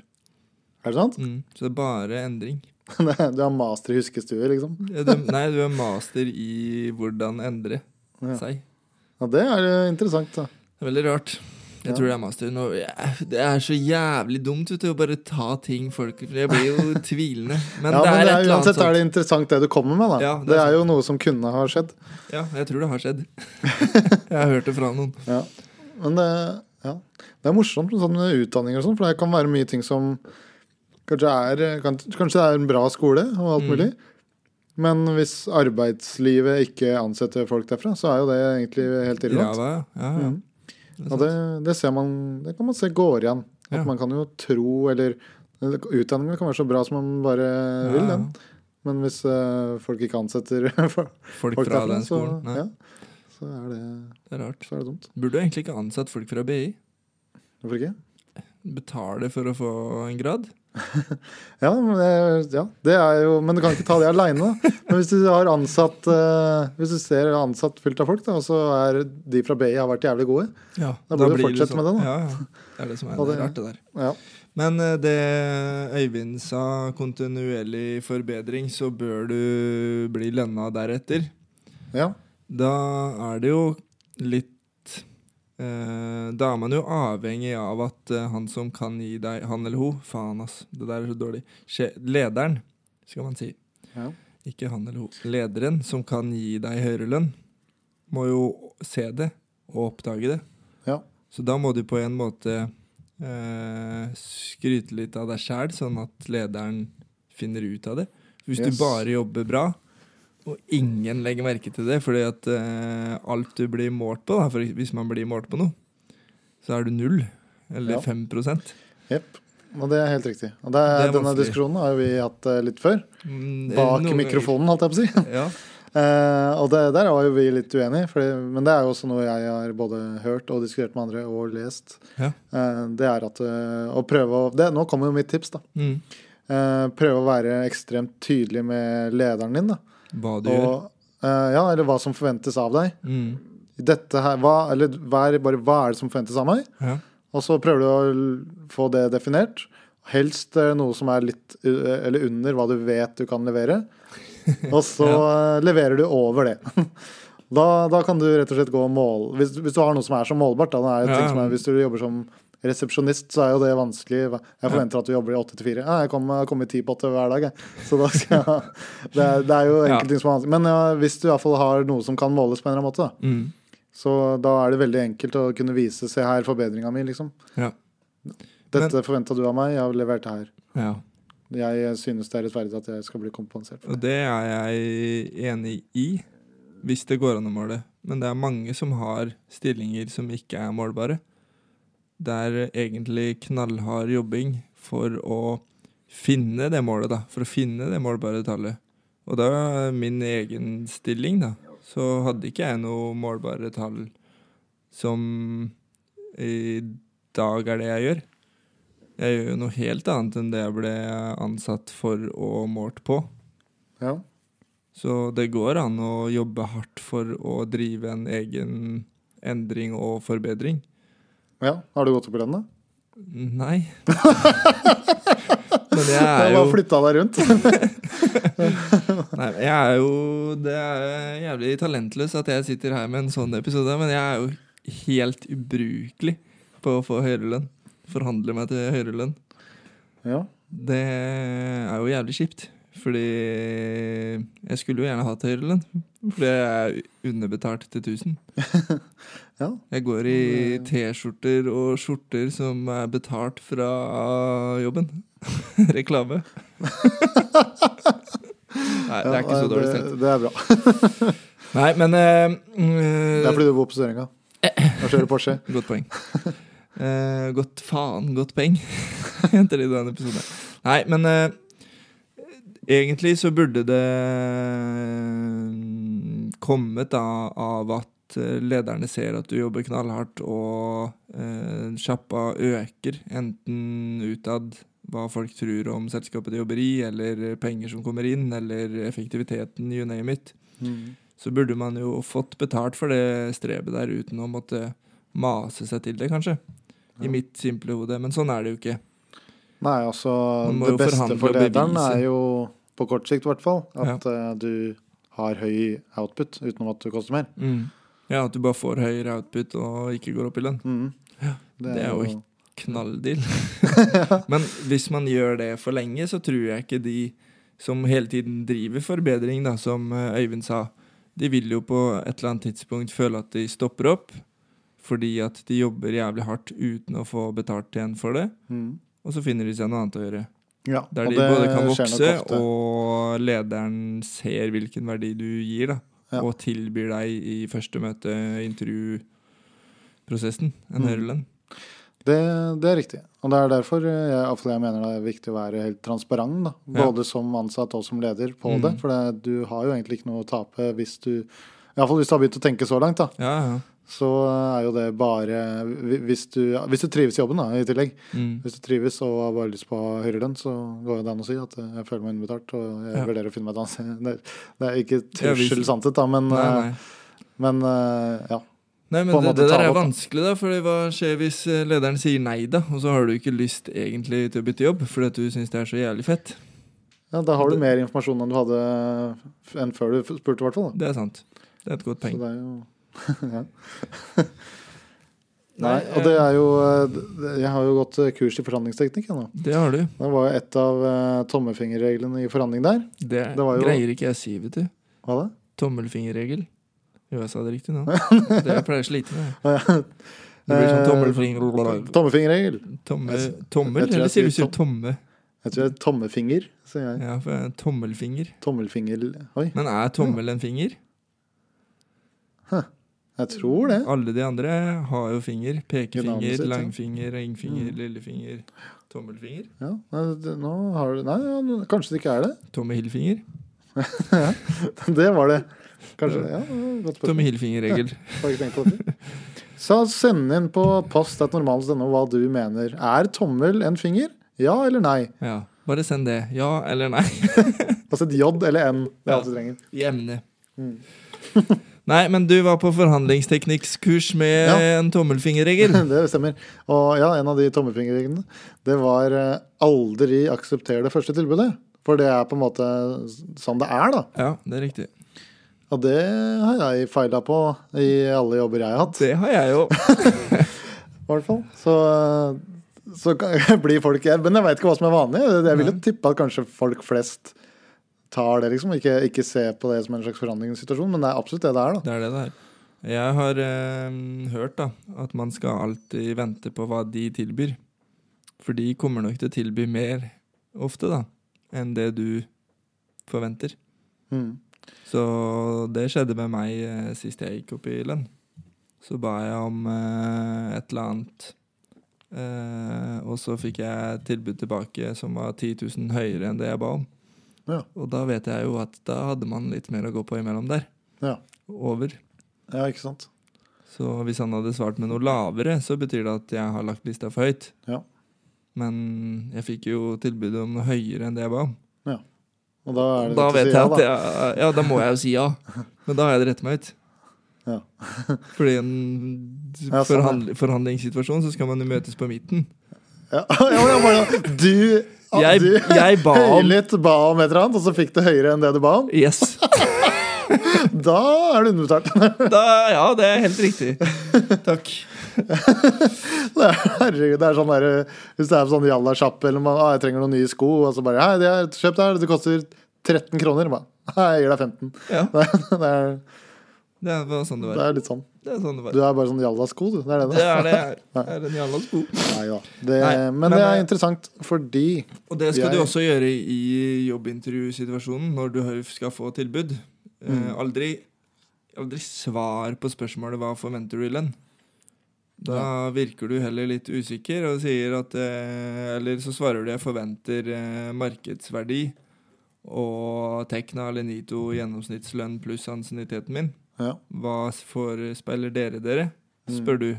Er det sant?
Mm. Så det er bare endring.
Det er- Du har master i huskestue, liksom.
Ja, du- Nei, du er master i hvordan endre
Ja.
seg.
Ja, det er jo interessant, da.
Det er veldig rart. Jeg
Ja.
tror det er master. Nå, jeg- det er så jævlig dumt vet du, å bare ta ting folk Jeg blir jo tvilende. Men,
Ja,
det, er et
men det er,
eller annet
uansett er
sånt.
det interessant det du kommer med, da.
Ja,
det,
det
er
er sant.
jo noe som kunne ha skjedd.
Ja, jeg tror det har skjedd. jeg har hørt det fra noen.
Ja. Men det, ja. det er morsomt med sånne utdanninger og sånn, for det kan være mye ting som Kanskje, er, kan- kanskje det er en bra skole og
Mm.
alt mulig, men hvis arbeidslivet ikke ansetter folk derfra, så er jo det egentlig helt irrelevant.
Rava, ja. ja, ja.
Mhm. Og det, det ser man Det kan man se går igjen. At
Ja.
man kan jo tro eller Utdanningen kan være så bra som man bare
Ja,
vil, den. Men hvis eh, folk ikke ansetter folk,
Folk
folk
fra
derfra,
den
så,
skolen. Nei,
ja, så, er det,
Det er rart.
så er det dumt.
Burde jo egentlig ikke ansatt folk fra BI.
Hvorfor ikke?
Betale for å få en grad.
Ja, men det, ja, det er jo, men du kan ikke ta det aleine. Men hvis du har ansatt eh, Hvis du ser ansatt fullt av folk, da, og så er de fra BI har vært jævlig gode
Ja,
Da burde du fortsette med det, da.
liksom- Ja, ja. Det er det som er
Ja, det-
det rart, det der.
ja.
Men eh, det Øyvind sa, kontinuerlig forbedring, så bør du bli lønna deretter.
ja.
Da er det jo litt eh, Da er man jo avhengig av at eh, han som kan gi deg Han eller hun Faen, ass. Det der er så dårlig. Sje, lederen, skal man si.
Ja.
Ikke han eller hun. Lederen som kan gi deg høyere lønn, må jo se det og oppdage det.
Ja.
Så da må du på en måte eh, skryte litt av deg sjæl, sånn at lederen finner ut av det. Hvis
Yes.
du bare jobber bra, og ingen legger merke til det, fordi at eh, alt du blir målt på, da, for hvis man blir målt på noe, så er du null. Eller
Ja.
5
Jepp. Og det er helt riktig. Og det er,
Det er
denne
vanskelig.
diskusjonen har jo vi hatt eh, litt før.
Mm, eh,
Bak
noen ganger-
mikrofonen, holdt jeg på å si.
Ja.
Eh, og det, der var jo vi litt uenige, fordi, men det er jo også noe jeg har både hørt og diskutert med andre og lest.
Ja.
Eh, det er at eh, å prøve å det, Nå kommer jo mitt tips, da.
Mm.
Eh, prøve å være ekstremt tydelig med lederen din. Da.
Hva du gjør.
Og, eh, ja, eller hva som forventes av deg.
Mm.
Dette her, hva, eller vær bare hva er det som forventes av meg?
Ja.
Og så prøver du å l- få det definert. Helst eh, noe som er litt u- eller under hva du vet du kan levere. Og så eh, leverer du over det. Da, da kan du rett og slett gå og måle Hvis, hvis du har noe som er så målbart, da. Det er jo
Ja.
ting som er, hvis du jobber som resepsjonist, så er jo det vanskelig. Jeg forventer at du jobber i åtte til fire. Ja, jeg kommer jeg kommer i ti på åtte hver dag, jeg. Så da skal jeg Det er, det er jo
Ja.
enkelte ting som er vanskelig. Men ja, hvis du iallfall har noe som kan måles på en eller annen måte, da.
Mm.
Så da er det veldig enkelt å kunne vise Se her, forbedringa mi, liksom.
Ja.
Dette forventa du av meg, jeg har levert det her.
ja.
Jeg synes det er rettferdig at jeg skal bli kompensert for det.
Og det er jeg enig i, hvis det går an å måle. Men det er mange som har stillinger som ikke er målbare. Det er egentlig knallhard jobbing for å finne det målet, da. For å finne det målbare tallet. Og da min egen stilling, da, så hadde ikke jeg noe målbare tall som i dag er det jeg gjør. Jeg gjør jo noe helt annet enn det jeg ble ansatt for og målt på.
Ja.
Så det går an å jobbe hardt for å drive en egen endring og forbedring.
ja. Har du gått opp i lønn, da?
Nei. Men jeg
Jeg
er jo
bare flytta deg rundt.
Nei, jeg er jo Det er jævlig talentløs at jeg sitter her med en sånn episode, men jeg er jo helt ubrukelig på å få høyere lønn. Forhandle meg til høyere lønn.
ja.
Det er jo jævlig kjipt. Fordi jeg skulle jo gjerne hatt høyere lønn. Fordi jeg er underbetalt til 1000.
Ja.
Jeg går i T-skjorter og skjorter som er betalt fra jobben. Reklame. Nei, det er ikke så dårlig stelt.
Det, det er bra.
Nei, men eh, mm,
Det er fordi du bor på Sørenga. Og kjører Porsche.
Godt poeng. Eh, godt faen, godt poeng, heter det i denne episoden. Nei, men eh, Egentlig så burde det eh, kommet da, av at eh, lederne ser at du jobber knallhardt, og eh, sjappa øker, enten utad hva folk tror om selskapet de jobber i, eller penger som kommer inn, eller effektiviteten, you name it.
Mm.
Så burde man jo fått betalt for det strebet der uten å måtte mase seg til det, kanskje.
Ja.
I mitt simple hode. Men sånn er det jo ikke.
Nei, altså
Man må
Det
jo
beste
forhandle
for
og
lederen
bevise.
er jo, på kort sikt i hvert fall, at eh, du har høy output utenom at du koster mer.
Mm. Ja, at du bare får høyere output og ikke går opp i lønn.
Mm.
det er jo ikke- knalldeal. Men hvis man gjør det for lenge, så tror jeg ikke de som hele tiden driver forbedring, da, som eh, Øyvind sa, de vil jo på et eller annet tidspunkt føle at de stopper opp fordi at de jobber jævlig hardt uten å få betalt igjen for det.
Mm.
Og så finner de seg noe annet å gjøre.
Ja,
Der
og
de
det
både kan
skjer nok
vokse,
ofte.
og lederen ser hvilken verdi du gir, da.
Ja.
Og tilbyr deg i første møte, intervjuprosessen, en
Mm.
høyere lønn.
Det, det er riktig. Og det er derfor eh, jeg, iallfall jeg mener det er viktig å være helt transparent. Da.
Ja.
Både som ansatt og som leder på
Mm.
det. For det, du har jo egentlig ikke noe å tape hvis du Iallfall hvis du har begynt å tenke så langt, da.
Ja, ja.
Så eh, er jo det bare hvi- Hvis du, hvis du trives i jobben, da, i tillegg.
Mm.
Hvis du trives og har bare lyst på høyere lønn, så går det an å si at eh, jeg føler meg underbetalt, og jeg
Ja.
vurderer å finne meg et annet sted. Det, det er ikke
Ja, hvis-
trussel sannhet, da, men,
Nei,
eh,
nei.
men eh, ja.
Nei, men
på en
det,
måte
det
ta
der
det
er
opp, da.
vanskelig, da. For hva skjer hvis eh, lederen sier nei, da? Og så har du ikke lyst egentlig til å bytte jobb fordi at du syns det er så jævlig fett.
ja. Da har
Det-
du mer informasjon enn du hadde f- enn før du f- spurte, i hvert fall. da.
Det er sant. Det er et godt
Så
poeng.
det er jo ja. Nei, og det er jo eh, det- Jeg har jo gått eh, kurs i forhandlingsteknikk. Jeg, nå.
Det har du.
Det var jo et av eh, tommefingerreglene i forhandling der.
Det,
Det var jo-
greier ikke jeg å si, vet du.
Hva da?
Tommelfingerregel. Jo, jeg sa det riktig nå. Det jeg pleier å slite med. Det blir sånn tommelfinger...
Eh, Tommefingerregel.
Tomme,
Jeg-
tommel?
jeg tror jeg
Eller sier du
sier
sier tomme?
Jeg tror det er tommefinger, sier jeg.
Ja, for jeg er en tommelfinger.
Tommelfinger Oi,
Men er tommel en finger?
jeg tror det.
Alle de andre har jo finger.
Navnet
Pekefinger,
sitt, ja.
langfinger, ringfinger, lillefinger, Mm. tommelfinger.
Ja, nei, det- nå har du Nei, ja, nå- kanskje det ikke er det.
Tomme Hillfinger.
Det var det. Kanskje Ja, det var et godt
Tomme
spørsmål.
Hillfinger-regel.
Har ikke tenkt på det. Så send inn på post.normalen.no hva du mener. Er tommel en finger? Ja eller nei?
Ja. Bare send det. Ja eller nei.
Altså et J eller N. Det er alt du trenger.
I emnet.
Mm.
Nei, men du var på forhandlingsteknikkskurs med
Ja.
en tommelfingerregel.
Det stemmer. Og ja, en av de tommefingerreglene, det var eh, aldri aksepter det første tilbudet. For det er på en måte sånn det er, da.
Ja, det er riktig.
Og det har jeg feila på i alle jobber jeg har hatt.
Det har jeg jo.
i hvert fall. Så, så kan- blir folk jeg, Men jeg veit ikke hva som er vanlig. Jeg vil jo tippe at kanskje folk flest tar det, liksom. Ikke, ikke ser på det som en slags forhandlingssituasjon, men det er absolutt det det er, da.
Det er det det er. Jeg har eh, hørt da, at man skal alltid vente på hva de tilbyr. For de kommer nok til å tilby mer ofte da, enn det du forventer.
Mm.
Så det skjedde med meg eh, sist jeg gikk opp i lønn. Så ba jeg om eh, et eller annet. Eh, og så fikk jeg tilbud tilbake som var 10 000 høyere enn det jeg ba om.
Ja.
Og da vet jeg jo at da hadde man litt mer å gå på imellom der.
Ja.
Over.
ja, ikke sant.
Så hvis han hadde svart med noe lavere, så betyr det at jeg har lagt lista for høyt.
Ja.
Men jeg fikk jo tilbudet om noe høyere enn det jeg ba om.
Og da er det
Da
lett å
vet
si
jeg
ja,
at
da.
jeg, Ja, da må jeg jo si ja. Men da har jeg det rett meg ut.
Ja.
Fordi i en
Ja, sånn, ja.
forhandl forhandlingssituasjon så skal man jo møtes på midten.
Ja, ja, men jeg bare, du
Jeg-
du
jeg ba om-
høylytt ba om et eller annet, og så fikk du høyere enn det du ba om.
Yes!
Da er du underbetalt.
Da, ja, det er helt riktig. Takk.
Det er, herregud, det er sånn der, Hvis det er sånn jalla kjapp eller man, ah, 'Jeg trenger noen nye sko', og så bare 'Hei, det er, kjøp det her, det koster 13 kroner'. Bare, Hei, jeg gir deg 15.
Ja,
Det er, det, er,
det var sånn det
det
var.
er litt sånn.
Det er sånn det var.
Du er bare sånn jalla sko, du. Det er det
Det
det
er det jeg er. Jeg er en jævla sko.
Nei da. Det,
Nei,
men,
men eh,
det
det-
er interessant fordi
Og det skal
Jeg-
du også gjøre i jobbintervjusituasjonen når du har- skal få tilbud. Eh, aldri, aldri svar på spørsmålet 'hva forventer du i lønn'? Da virker du heller litt usikker og sier at eh, Eller så svarer du 'jeg forventer eh, markedsverdi', Og Tekna eller Nito gjennomsnittslønn pluss ansienniteten min.
Ja.
Hva forespeiler dere dere? spør du.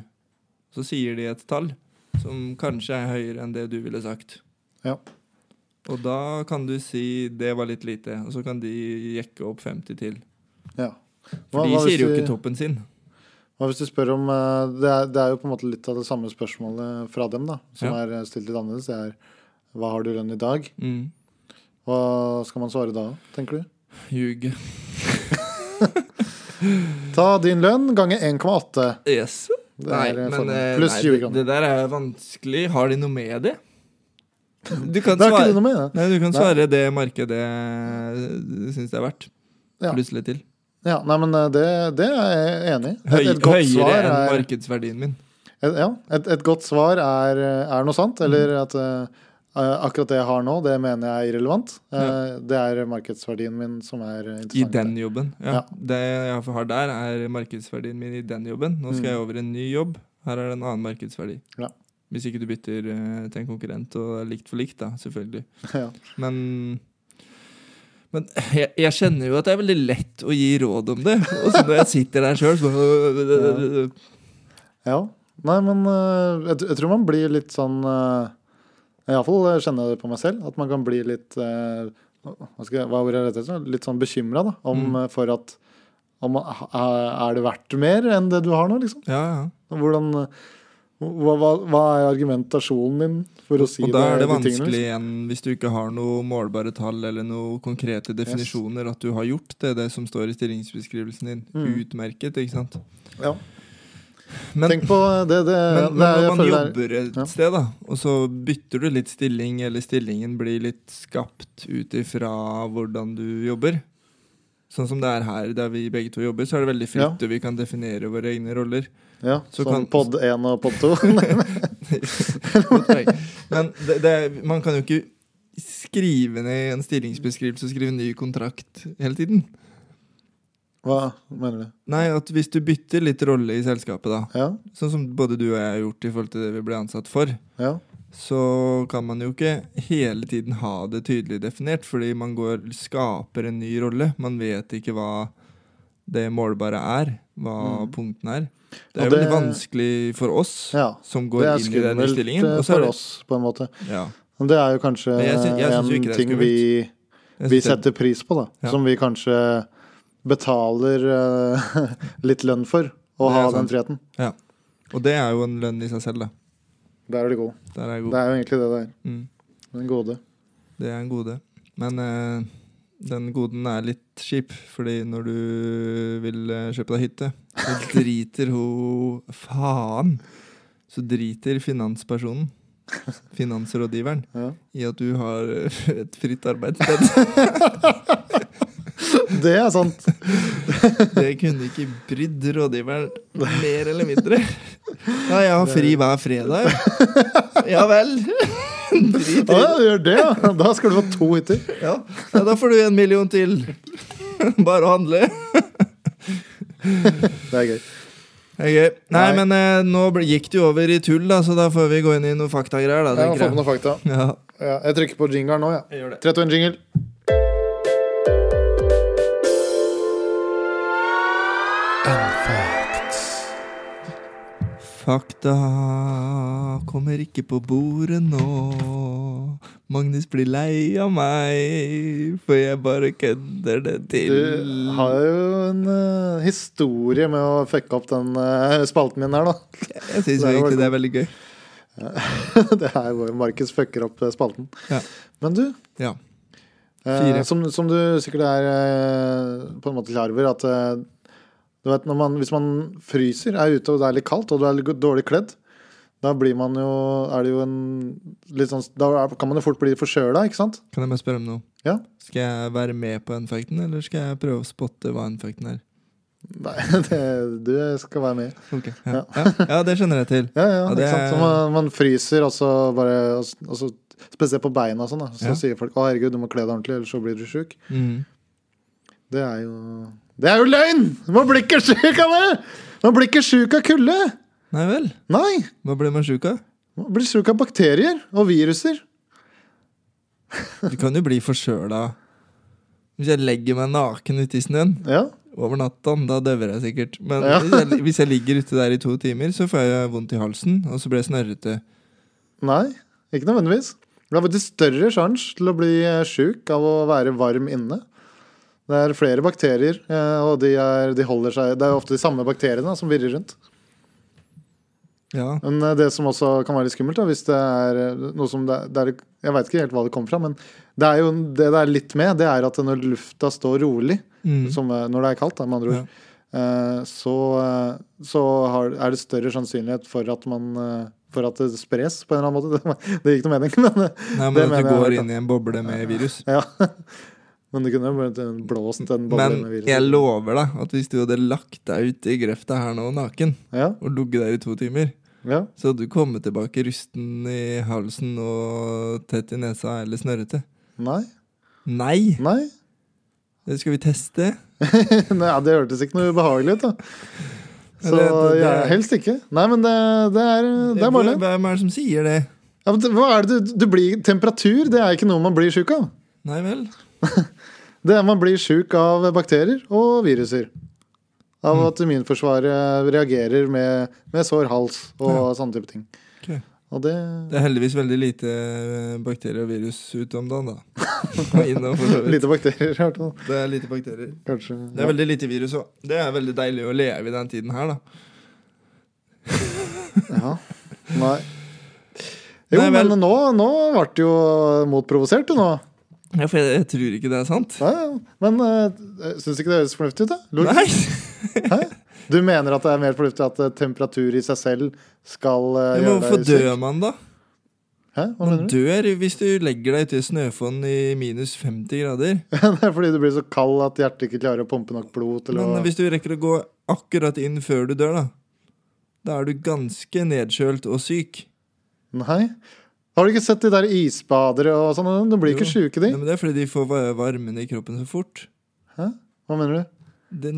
Så sier de et tall som kanskje er høyere enn det du ville sagt.
Ja.
Og da kan du si 'det var litt lite', og så kan de jekke opp 50 til.
ja.
For
Hva-
de
hva hvis
sier jo
du-
ikke toppen sin.
Hva hvis du spør om eh, det er, det er jo på en måte litt av det samme spørsmålet fra dem, da, som
Ja.
er eh, stilt litt annerledes. Det er hva har du lønn i dag?
Mm.
Hva skal man svare da, tenker du?
Ljuge.
Ta din lønn ganger 1,8.
Yes.
Det
Nei,
er, eh,
men
fordelen.
eh,
Pluss
nei,
20
det,
kroner.
det der er vanskelig. Har de noe med det? Du kan
Det er ikke
svare,
det noe med det.
nei, du kan
Nei.
svare det markedet syns det er verdt.
Ja.
Pluss litt til.
Ja, nei, men eh, det, det er jeg enig i. Et,
Høy,
et godt
høyere
svar eh.
enn
er,
markedsverdien min.
et, ja, et, et godt svar er, eh, er noe sant,
Mm.
eller at eh, akkurat det jeg har nå, det mener jeg er irrelevant. Eh, Det er markedsverdien min som er eh,
I
interessant.
den jobben. Ja.
Ja.
Det jeg har der, er markedsverdien min i den jobben. Nå skal jeg over i en ny jobb. Her er det en annen markedsverdi.
Mm. Ja.
Hvis ikke du bytter eh, til en konkurrent, og det er likt for likt, da, selvfølgelig.
Ja.
Men, men jeg, jeg kjenner jo at det er veldig lett å gi råd om det. Og så når jeg sitter der sjøl, så
Ja. Nei, men øh, jeg, jeg tror man blir litt sånn uh, Iallfall kjenner jeg det på meg selv. At man kan bli litt øh, hva, skal jeg, hva er ordet jeg leter etter? Litt sånn bekymra om
Mm.
øh, for at om, man- ha- Er det verdt mer enn det du har nå, liksom?
Ja, ja.
Hvordan øh, hva, hva, hva er argumentasjonen din for å si
Og da er det
de tingene, liksom?
vanskelig igjen, hvis du ikke har noen målbare tall eller noen konkrete definisjoner, at du har gjort det, det som står i stillingsbeskrivelsen din. Utmerket, ikke sant.
liksom? Ja.
Men,
Mm. Tenk på det, det,
men, men
det er-
når
Eh, jeg
man
føler det er-
jobber et
ja.
sted, da, og så bytter du litt stilling, eller stillingen blir litt skapt ut ifra hvordan du jobber Sånn som det er her, der vi begge to jobber, så er det veldig fritt,
Ja.
og vi kan definere våre egne roller.
ja,
så kan-
Som pod 1 og pod 2.
Godt poeng. Men det, det, er- man kan jo ikke skrive ned en stillingsbeskrivelse og skrive en ny kontrakt hele tiden.
Hva mener du?
Nei, at hvis du bytter litt rolle i selskapet, da,
Ja?
sånn som både du og jeg har gjort i forhold til det vi ble ansatt for,
Ja?
så kan man jo ikke hele tiden ha det tydelig definert, fordi man går, skaper en ny rolle. Man vet ikke hva det målbare er, hva punktene er. Det er
Mm.
jo
Og
veldig
det-
vanskelig for oss
Ja,
som
Det
går
er
inn i den
skummelt
stillingen.
eh,
og så er
for
det-
oss, på en måte.
Ja,
Men det er jo kanskje
Men jeg syn- jeg syns jo ikke
en
det er
ting
skummelt.
vi,
jeg
vi
synes det-
setter pris på, da.
Ja.
Som vi kanskje betaler eh, litt lønn for, å
Det er
ha den
sant.
friheten.
Ja. Og det er jo en lønn i seg selv, da.
Der er du god.
Der er jeg god.
Det er jo egentlig det det er.
Mm.
Den gode.
Det er en gode. Men eh, den goden er litt kjip, fordi når du vil eh, kjøpe deg hytte, så driter hun Faen! Så driter finanspersonen, finansrådgiveren,
Ja.
i at du har eh, et fritt arbeidssted.
Det er sant.
Det kunne ikke brydd rådgiveren mer eller mindre. Ja, jeg har fri hver fredag. Ja vel. Drit
Å
i
ja, du gjør det, ja. Da skal du få to hytter.
Ja, ja da får du en million til. Bare å handle.
Det er gøy.
Ok. Nei,
Nei.
men eh, nå ble- gikk det jo over i tull, da, så da får vi gå inn i noen faktagreier. da,
Jeg må få
tenker
med
jeg.
noen fakta.
Ja,
Ja, jeg trykker på jingeren nå, ja.
jeg gjør det.
31 jingle.
Fakta kommer ikke på bordet nå. Magnus blir lei av meg, for jeg bare kødder det til.
Du har jo en eh, historie med å fucke opp den eh, spalten min her, da.
Jeg syns
Det er jo
egentlig det er veldig gøy.
Det er jo Markus fucker opp eh, spalten.
Ja.
Men du,
Ja.
Eh,
Fire.
som, som du sikkert er eh, på en måte klar over, at eh, du vet, når man, hvis man fryser, er ute og det er litt kaldt, og du er litt dårlig kledd, da blir man jo, er det jo en litt sånn, Da er- kan man jo fort bli forkjøla, ikke sant?
Kan jeg bare spørre om noe?
Ja.
Skal jeg være med på N-fakten, eller skal jeg prøve å spotte hva N-fakten er?
Nei, det, du skal være med.
Ok, ja. Ja. ja, det skjønner jeg til.
Ja, ja,
Ja, det
ikke sant?
er-
Så man, man fryser, og så bare og, s- og så, Spesielt på beina og sånn, da. Så
Ja.
sier folk 'Å, herregud, du må kle deg ordentlig, ellers så blir du sjuk'.
Mm.
Det er jo Det er jo løgn! Man blir ikke sjuk av det! Man blir ikke sjuk av kulde!
Nei vel.
Nei!
Hva ble man sjuk av?
Man blir sjuk av bakterier og viruser.
Du kan jo bli forkjøla Hvis jeg legger meg naken ute i snøen
Ja,
over natta, da dauer jeg sikkert. Men
Ja.
hvis, jeg, hvis jeg ligger ute der i to timer, så får jeg vondt i halsen, og så blir jeg snørrete.
Nei, ikke nødvendigvis. Det er faktisk større sjanse til å bli eh, sjuk av å være varm inne. Det er flere bakterier, eh, og de, er, de holder seg Det er ofte de samme bakteriene da, som virrer rundt.
Ja.
Men eh, det som også kan være litt skummelt, da, hvis det er eh, noe som det er, det er Jeg veit ikke helt hva det kommer fra, men det er jo det det er litt med, det er at når lufta står rolig,
Mm.
som eh, når det er kaldt, da, med andre ord, eh, så, eh, så har, er det større sannsynlighet for at man eh, for at det spres på en eller annen måte. Det, det gikk noe mening, men eh,
Nei, men
det
at
mener
du
jeg
går
er-
inn i en boble med virus.
Ja. Men det kunne jo blitt en blåst en boble
Men
med virus.
jeg lover deg at hvis du hadde lagt deg ut i grøfta her nå naken,
Ja,
og ligget der i to timer,
ja.
så hadde du kommet tilbake rusten i halsen og tett i nesa eller snørrete.
Nei.
Nei!
Nei.
Det skal vi teste.
Nei, ja, det hørtes ikke noe ubehagelig ut, da. Så
Det- det- det-
ja, helst ikke. Nei, men det, det er, det er
Hvor-
bare det.
Hvem er det som sier det?
Ja, men det- hva er det du, du blir Temperatur, det er ikke noe man blir sjuk av.
Nei vel?
Det er Man blir sjuk av bakterier og viruser. Av
Mm.
at immunforsvaret reagerer med, med sår hals og
Ja.
sånne type ting.
Ok.
Og det
Det er heldigvis veldig lite eh, bakterier og virus ute om dagen, da. Og innom, for så vidt.
Lite bakterier, i hvert fall.
Det er lite bakterier.
Kanskje.
Det er veldig lite virus òg. Det er veldig deilig å leve i den tiden her, da.
Ja. Nei. Jo,
Nei, vel.
men nå, nå ble du jo motprovosert, du nå.
Ja, for jeg, jeg tror ikke det er sant.
Nei, ja. men uh, syns ikke det høres fornuftig ut, da? Lur-
Nei!
Du mener at det er mer fornuftig at eh, temperatur i seg selv skal eh,
Ja, Men
gjøre
hvorfor
deg syk?
dør man, da?
Hæ? Hva
Man
mener du?
dør hvis du legger deg ute i snøfonn i minus 50 grader.
det er fordi du blir så kald at hjertet ikke klarer å pumpe nok blod til å
Men eh, hvis du rekker å gå akkurat inn før du dør, da Da er du ganske nedkjølt og syk.
Nei. Har du ikke sett de der isbadere og sånn? De blir ikke
Jo.
sjuke, de.
Nei, men det er fordi de får va- varmen i kroppen så fort.
Hæ? Hva mener du?
Den,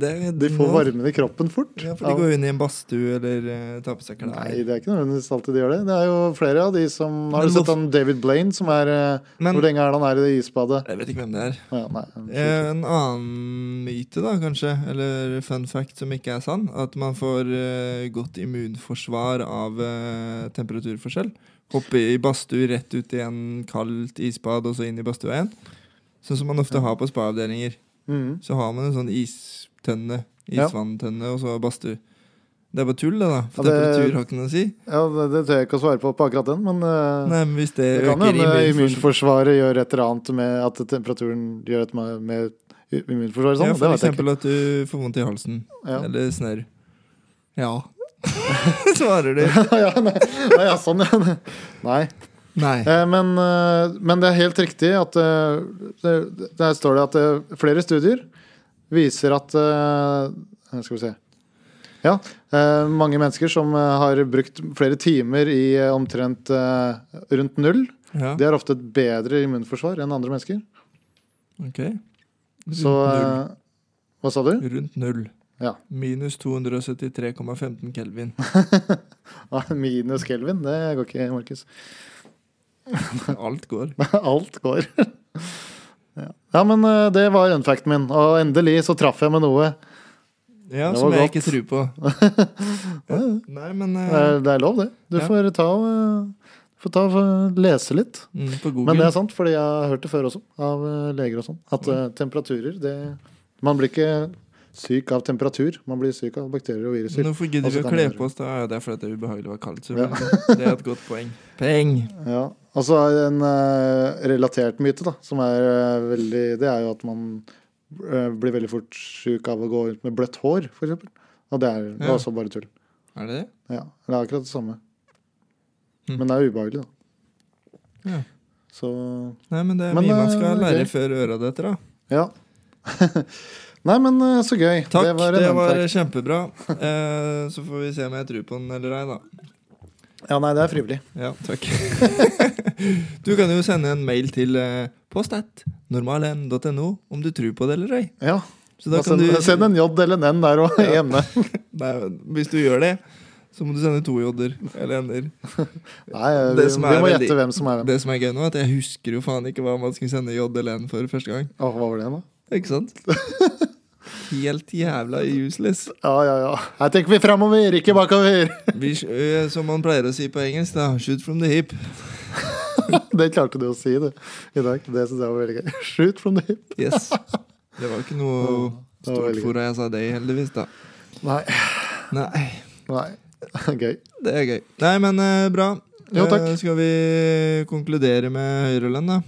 det,
De får
nå-
varmen i kroppen fort.
Ja, for de går inn i en badstue eller eh, tar på seg klær.
Nei, det er ikke nødvendigvis alltid de gjør det. Det er jo flere av de som Har
Men
du sett
hvorfor-
han David Blaine, som er eh,
Men-
Hvor lenge er det han er i det isbadet?
Jeg vet ikke hvem det er.
Å Ja, nei, han-
Eh, En annen myte, da, kanskje, eller fun fact som ikke er sann, at man får eh, godt immunforsvar av eh, temperaturforskjell. Hoppe i badstue rett ut i en kaldt isbad og så inn i badstua igjen. Sånn som man ofte har på spaavdelinger.
Mhm.
Så har man en sånn istønne,
Ja.
isvanntønne, og så badstue. Det er bare tull, det, da. For
Ja, det-
temperatur har ikke noe å si.
ja det, det tør jeg ikke å svare på på akkurat den, men eh,
Nei, men hvis det,
det kan
øker
hende
immunforsvaret
immunforsvaret gjør et eller annet med at temperaturen gjør et med, med immunforsvaret sånn.
ja, For
det vet jeg ikke.
eksempel at du får vondt i halsen.
Ja.
Eller snørr. Ja. Svarer du.
ja, nei, nei, ja, sånn, ja. Nei.
Nei.
Eh, Men, eh, men det er helt riktig at eh, det- Der står det at eh, flere studier viser at eh, her Skal vi se. Ja. eh, Mange mennesker som eh, har brukt flere timer i eh, omtrent eh, rundt null,
Ja,
de har ofte et bedre immunforsvar enn andre mennesker.
ok.
Så
Rundt
eh, Hva sa du?
null. Rundt null.
Ja.
Minus 273,15 kelvin.
Ah, Minus Kelvin, det går ikke, Markus.
Alt går.
Alt går. Ja. ja, men eh, det var unfacten min. Og endelig så traff jeg med noe.
Ja,
Det
som
var
jeg
godt.
ikke tror på. Ja, nei, men eh,
Det er, det er lov, det. Du
Ja.
får ta og eh, får ta og eh, lese litt.
mm, på Google.
Men det er sant, fordi jeg har hørt det før også, av eh, leger og sånn, at eh, temperaturer det Man blir ikke syk av temperatur, man blir syk av bakterier og viruser.
Nå får gidder
Altså,
vi å
kan
kle
man gjøre
på oss, da. Ja, det er fordi det er ubehagelig å være kald. Så
Ja.
det er et godt poeng. Peng!
Ja. Og så er det en eh, relatert myte, da, som er eh, veldig Det er jo at man eh, blir veldig fort syk av å gå rundt med bløtt hår, for eksempel. Og det er det
Ja.
er også bare tull.
Er det det?
Ja, det er akkurat det samme.
Mm.
Men det er ubehagelig, da.
Ja.
Så
Nei, men det er
Men,
mye man
eh,
skal
gøy.
lære før øra detter, da.
Ja. Nei, men eh, så gøy.
Takk, det var,
en unfact.
kjempebra. Eh, så får vi se om jeg tror på den eller ei, da.
Ja, nei, det er frivillig.
Ja, takk. du kan jo sende en mail til eh, postat.normalen.no om du tror på det eller ei.
Ja.
Så da
Da
kan
send,
du
send en J eller en N der og
Ja.
ene.
Nei, Hvis du gjør det, så må du sende to j-er eller n-er.
Nei, vi,
Det som
vi
er
må
veldig-
gjette hvem som er hvem.
Det som er gøy nå, er at jeg husker jo faen ikke hva man skulle sende j eller n for første gang.
Å, hva var det igjen, da?
Ikke sant? Helt jævla useless.
Ja, ja, ja. Her tenker vi framover, ikke bakover!
Vi, eh, som man pleier å si på engelsk, da. Shoot from the hip.
Det klarte du å si, du, i dag. Det syns jeg var veldig gøy. Shoot from the hip.
Yes. Det var ikke noe
det var
stort
veldig
for at jeg sa det, heldigvis, da.
Nei.
Nei,
Nei. Gøy.
det er gøy. Nei, men eh, bra.
Jo, takk.
Eh, skal vi konkludere med høyrelønn, da?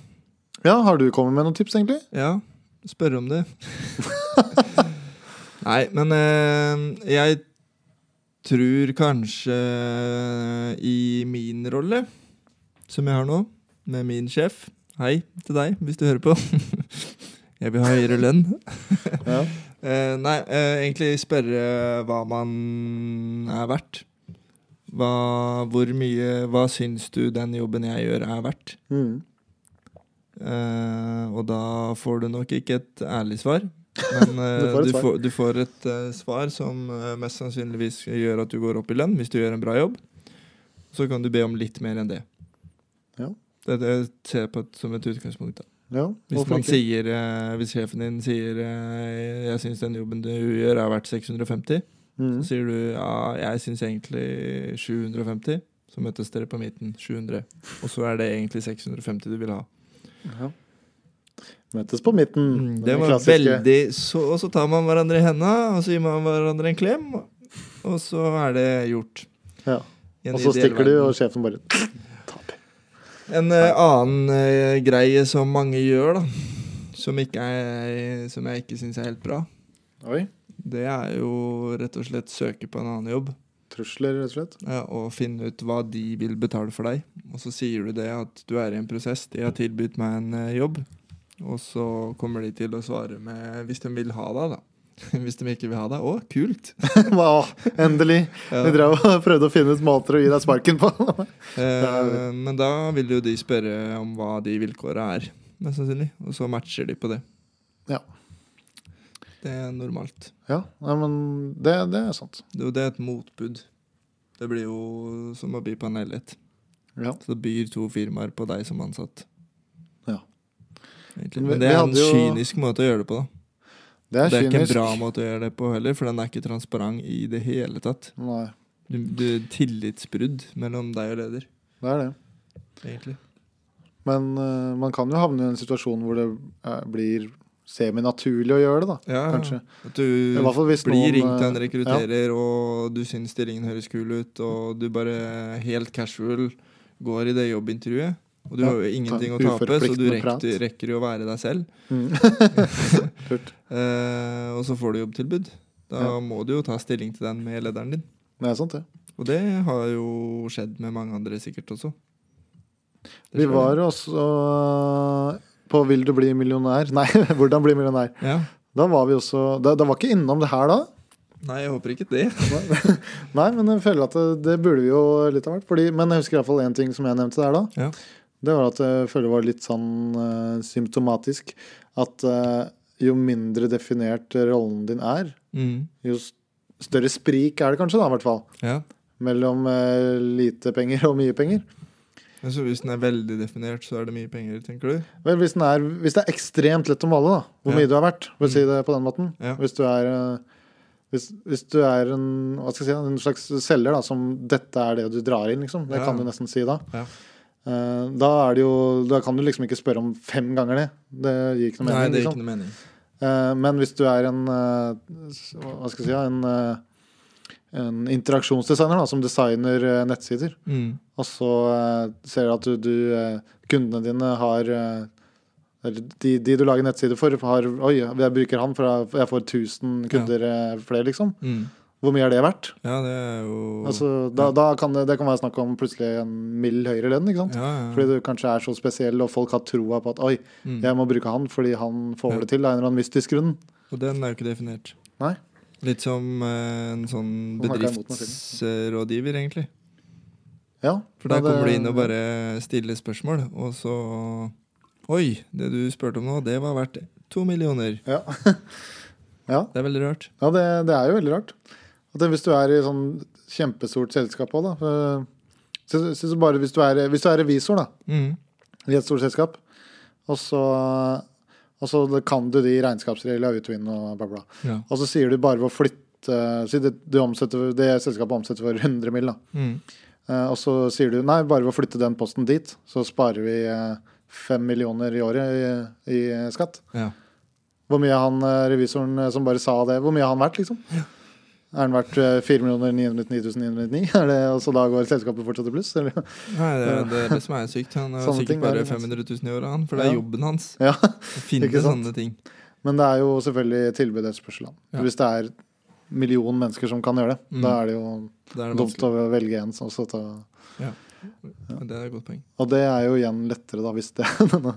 Ja, har du kommet med noen tips, egentlig?
Ja, spørre om det. Nei, men eh, jeg tror kanskje eh, i min rolle, som jeg har nå, med min sjef Hei til deg, hvis du hører på. jeg vil ha høyere lønn.
Ja.
Eh, nei, eh, egentlig spørre hva man er verdt. Hva, hvor mye Hva syns du den jobben jeg gjør, er verdt?
Mm.
Eh, og da får du nok ikke et ærlig svar. Men eh,
Du får et
du,
svar.
får, du får et eh, svar som eh, mest sannsynligvis gjør at du går opp i lønn hvis du gjør en bra jobb. Så kan du be om litt mer enn det.
Ja.
Det, det ser jeg på et, som et utgangspunkt. Da.
ja.
Hvis,
hvorfor
man
ikke?
sier, eh, hvis sjefen din sier eh, 'jeg syns den jobben du gjør, er verdt 650', så
Mm.
sier du 'ja, jeg syns egentlig 750', så møtes dere på midten. 700. Og så er det egentlig 650 du vil ha.
Ja. Møtes på midten.
Mm,
Den
det var
klassiske.
veldig så, Og så tar man hverandre i henda, og så gir man hverandre en klem, og så er det gjort.
Ja.
I en
Og så
ideell
stikker du,
verden.
og sjefen bare taper.
En eh, annen eh, greie som mange gjør, da, som, ikke er, som jeg ikke syns er helt bra,
Oi.
det er jo rett og slett søke på en annen jobb.
Trusler, rett og slett.
Ja, og finne ut hva de vil betale for deg. Og så sier du det at du er i en prosess, de har tilbudt meg en eh, jobb. Og så kommer de til å svare med hvis de vil ha deg, da. Hvis de ikke vil ha deg. Å, kult!
Wow, endelig.
Ja.
Vi drev og prøvde å finne ut måter å gi deg sparken på.
Eh, men da vil jo de spørre om hva de vilkåra er, mest sannsynlig. Og så matcher de på det.
Ja.
Det er normalt.
Ja, nei, men det, det er sant.
Det, er jo- det er et motbud. Det blir jo som å by på en leilighet.
Ja.
Så det byr to firmaer på deg som ansatt.
Ja.
Egentlig.
Men vi-
Men det er
vi
en
hadde jo-
kynisk måte å gjøre det på, da.
Det er
Det er ikke
kynisk.
en bra måte å gjøre det på heller, for den er ikke transparent i det hele tatt.
Nei,
Du, du Tillitsbrudd mellom deg og leder,
det er det.
egentlig.
Men eh, man kan jo havne i en situasjon hvor det eh, blir seminaturlig å gjøre det, da.
Ja, ja.
Kanskje.
At du
I hvert fall hvis
blir
noen
ringt av
eh,
en rekrutterer, og du syns stillingen høres kul ut, og du bare helt casual går i det jobbintervjuet. Og du
Ja,
har jo ingenting å
ta en
tape, så du
uforpliktende prat.
rekker, rekker jo å være deg selv.
Mm. Kult.
Eh, og så får du jobbtilbud. Da
Ja.
må du jo ta stilling til den med lederen din.
Det er sant, det.
Og det har jo skjedd med mange andre sikkert også. Det
Vi
skjer.
var også eh, på 'Vil du bli millionær'? Nei, 'Hvordan bli millionær'.
ja.
Da var vi også Da, da var ikke innom det her da.
Nei, jeg håper ikke det.
Nei, men jeg føler at det, det burde vi jo litt av hvert. Fordi, men jeg husker iallfall én ting som jeg nevnte der da.
Ja.
Det var at jeg føler det var litt sånn eh, symptomatisk at eh, jo mindre definert rollen din er,
Mm.
jo s- større sprik er det kanskje, da, i hvert fall.
Ja.
Mellom eh, lite penger og mye penger.
Men så hvis den er veldig definert, så er det mye penger, tenker du?
Vel, hvis, den er, hvis det er ekstremt lett å male, da, hvor
Ja. Mm.
mye du er verdt, for å si det på den måten
Ja.
Hvis du er eh, hvis, hvis du er en, hva skal jeg si, en slags selger da, som dette er det du drar inn, liksom. Det
Ja.
kan du nesten si da.
Ja.
Eh, Da, er det jo, da kan du liksom ikke spørre om fem ganger det. Det gir ikke noe
Nei,
mening.
det gir
liksom.
ikke noe mening.
Eh, Men hvis du er en eh, s- Hva skal jeg si ja, en, eh, en interaksjonsdesigner da, som designer eh, nettsider,
Mm.
og så eh, ser du at du, du eh, kundene dine har eh, eller de, de du lager nettsider for, har Oi, jeg bruker han, for jeg- jeg får 1000 kunder eh, flere, liksom.
Mm.
Hvor mye er det verdt?
Ja, det er jo
Altså, da, da kan det, det kan være snakk om plutselig en mild høyere lønn, ikke sant?
ja, ja.
Fordi du kanskje er så spesiell, og folk har troa på at oi,
Mm.
jeg må bruke han fordi han får
Ja.
det til av en eller annen mystisk grunn.
Og den er jo ikke definert.
Nei.
Litt som eh, en sånn
Nå snakker jeg mot meg
bedriftsrådgiver, egentlig.
Ja,
For der
men det-
kommer du inn og bare stiller spørsmål, og så Oi, det du spurte om nå, det var verdt to millioner.
Ja, ja.
Det er veldig rart.
ja det, det er jo veldig rart. At det- hvis du er i sånn kjempestort selskap òg, da for- så, så, så bare hvis du, er, hvis du er revisor, da,
Mm.
i et stort selskap, og så, og så kan du de regnskapsreglene Utwin og bla, bla.
Ja.
Og så sier du bare ved å flytte Si det, du omsetter, det selskapet omsetter for 100 mill., da.
Mm.
Eh, Og så sier du nei, bare ved å flytte den posten dit, så sparer vi eh, fem millioner i året i, i skatt.
ja.
Hvor mye er han eh, revisoren eh, som bare sa det, hvor mye har han vært, liksom? Er han verdt eh, 4 999 999? Er det, og så da går selskapet fortsatt i pluss? Eller?
Nei, det er det, er det som er sykt. Han har
Sånne ting
sikkert
er
bare
det,
500
altså.
000 i året, han. For det er
Ja.
jobben hans.
Ja.
Å finne
Ikke sant?
sånne ting.
Men det er jo selvfølgelig tilbud og etterspørsel. da.
Ja.
Hvis det er en million mennesker som kan gjøre det,
Mm.
da er det jo
Det er det
dumt
vanskelig.
å velge en. Sånn, så ta...
Det er et godt poeng.
Og det er jo igjen lettere, da, hvis det,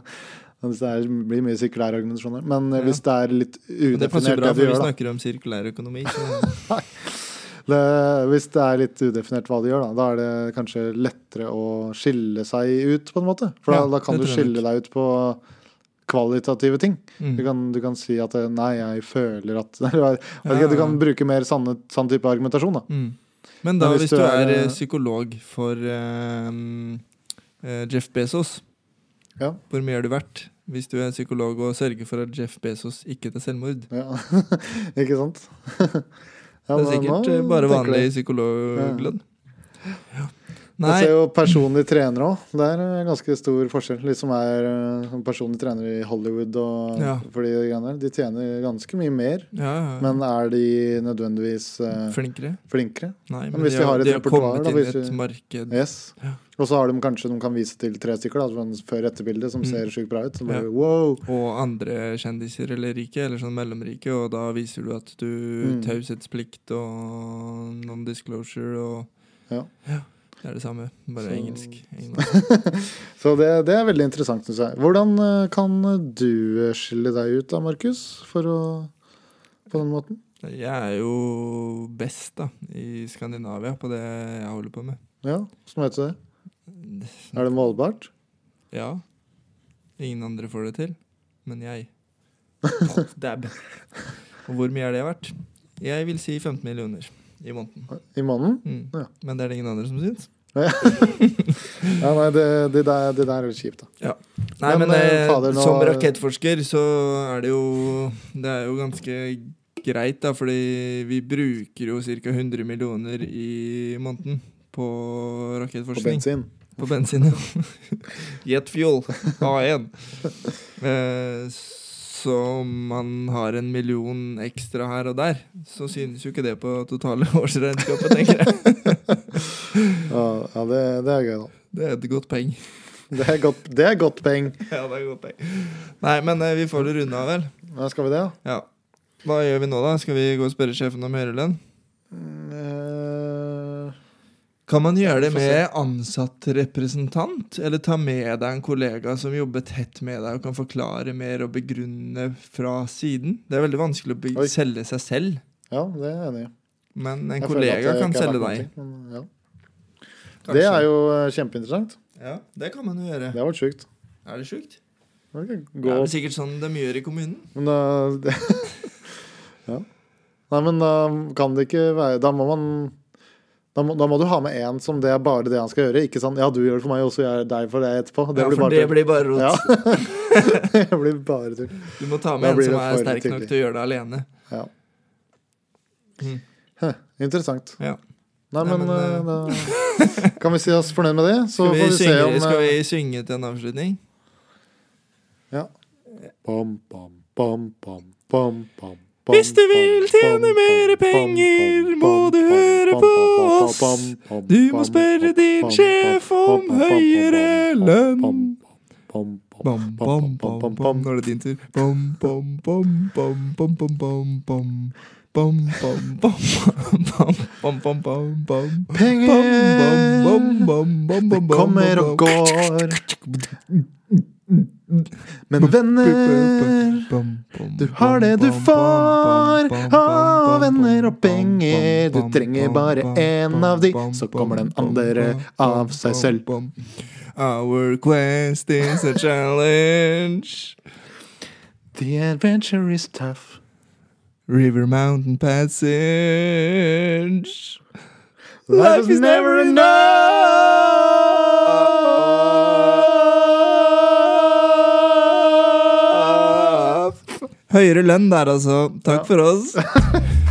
hvis det er, blir mye sirkulære argumentasjoner. Men
Ja.
eh, hvis det er litt
Men det passer
udefinert, det,
bra,
du
for vi
gjør, da.
snakker om sirkulær økonomi. Så
Det, hvis det er litt udefinert hva du gjør, da, da er det kanskje lettere å skille seg ut, på en måte. For da,
Ja,
da kan
det
du
tror jeg
skille deg ut på kvalitative ting.
mm.
Du kan, du kan si at eh, 'nei, jeg føler at' Eller, jeg vet ikke, Du kan bruke mer sanne, sann type argumentasjon, da.
Mm. Men da,
Men
hvis, du er, eh, psykolog for ehm, eh, Jeff Bezos,
Ja.
hvor mye er du verdt? Hvis du er psykolog og sørger for at Jeff Bezos ikke tar selvmord.
Ja, ikke sant? Ja,
Det er
nå-
sikkert
nå
eh, bare
tenker
vanlig
du.
psykologlønn. Ja. Nei,
Jeg ser jo personlig trener òg. Det er en ganske stor forskjell. De som er eh, personlig trener i Hollywood og
Ja.
for de greiene der, de tjener ganske mye mer.
ja, ja.
Men er de nødvendigvis eh,
flinkere?
flinkere?
Nei, men,
hvis
de
de har
har,
et
de har
repertoar,
kommet
da,
inn i
hvis
et
vi-
marked.
Yes.
Ja.
Og så har de kanskje de kan vise til tre stykker da, sånn før- etterbilde som
Mm.
ser sjukt bra ut. Så bare,
Ja.
wow!
Og andre kjendiser eller rike, eller sånn mellomrike, og da viser du at du
Mm.
taushetsplikt og non-disclosure og
Ja.
Det er det samme, bare
Så-
engelsk.
Så det, det er veldig interessant, syns jeg. Hvordan eh, kan du eh, skille deg ut da, Markus? For å På den måten?
Jeg er jo best, da, i Skandinavia på det jeg holder på med.
Ja, som heter det. Er det målbart?
Ja. Ingen andre får det til, men jeg. Dab. Og hvor mye er det verdt? Jeg vil si 15 millioner i måneden.
I måneden?
Mm.
Ja.
Men det er det ingen andre som syns.
Ja, nei, det, det, der, det der er litt kjipt, da.
Nei,
Men,
men,
eh,
eh,
fader, nå-
som rakettforsker så er det jo Det er jo ganske greit, da, fordi vi bruker jo ca. 100 millioner i måneden på
På
rakettforskning.
bensin.
På bensin, ja. Jet fuel A1. Eh, så om man har en million ekstra her og der, så synes jo ikke det på totale årsregnskapet, tenker jeg.
Ja, ja det, det er gøy, da.
Det er et godt poeng.
Det er godt, det er godt peng.
Ja, det er et godt poeng. Nei, men eh, vi får det runde av, vel.
Ja, skal vi det, da?
Ja. Hva gjør vi nå, da? Skal vi gå og spørre sjefen om høyere lønn?
Mm, eh,
Kan man gjøre det
Få se.
med ansatt representant? Eller ta med deg en kollega som jobber tett med deg og kan forklare mer og begrunne fra siden? Det er veldig vanskelig å be-
Oi.
selge seg selv,
ja, det er jeg enig i.
men en
Jeg føler at eh,
kollega
jeg
kan
ikke er
selge deg.
verdt noen ting, men ja.
kanskje.
Det er jo eh, kjempeinteressant.
Ja, det kan man jo gjøre.
Det har vært sjukt.
Er det sjukt?
Man kan
Det
Gå
er vel sikkert sånn de gjør i kommunen.
Men da Ja. Nei, men da kan det ikke være Da må man da må, da må du ha med én som det er bare det han skal gjøre. Ikke sånn 'ja, du gjør det for meg, og så gjør jeg deg for det etterpå'. Det
ja,
blir
for
bare
det
tull.
blir bare rot.
Ja. det blir bare tull.
Du må ta
Da
med en
blir
som
det
er
for
sterk nok
tydelig.
til å gjøre det alene.
Ja.
Mm.
Huh, Interessant.
Ja.
Nei,
Nei,
men,
men,
eh, da kan vi si oss fornøyd med det. Så
Skal vi,
får vi se
synge,
om
skal
eh,
vi synge til en avslutning?
Bam, bam, bam, bam, bam, bam, bam,
Hvis du vil
bam,
tjene
bam,
mer
bam,
penger,
bam,
må
bam,
du
bam,
høre
bam,
på
bam, bam,
oss.
bam, bam,
Du må
bam,
spørre
bam,
din
bam,
sjef
bam,
om
bam, bam,
høyere
bam,
lønn.
bam, bam, bam,
Bam, bam, bam, bam, Nå er det din tur. Bam, bam, bam, bam, bam, bam, bam, bam. Bam, bam, bam, bam, bam, bam, bam, bam.
Penger!
Bam, bam, bam, bam, bam, bam,
Det kommer
bam,
og går, men
bam.
venner
Bam, bam,
du har det du
bam, bam,
får
bam, bam,
av
bam,
venner og
bam, bam,
penger. Du
bam,
trenger
bam,
bare
bam,
én
bam,
av de,
bam,
så
bam,
kommer den
bam,
andre
bam,
av
bam,
seg
bam,
selv.
bam. Our quest is a challenge.
The adventure is tough.
River Mountain Passage.
challenge. Life is never enough! Høyere lønn der, altså. Takk
Ja.
for oss.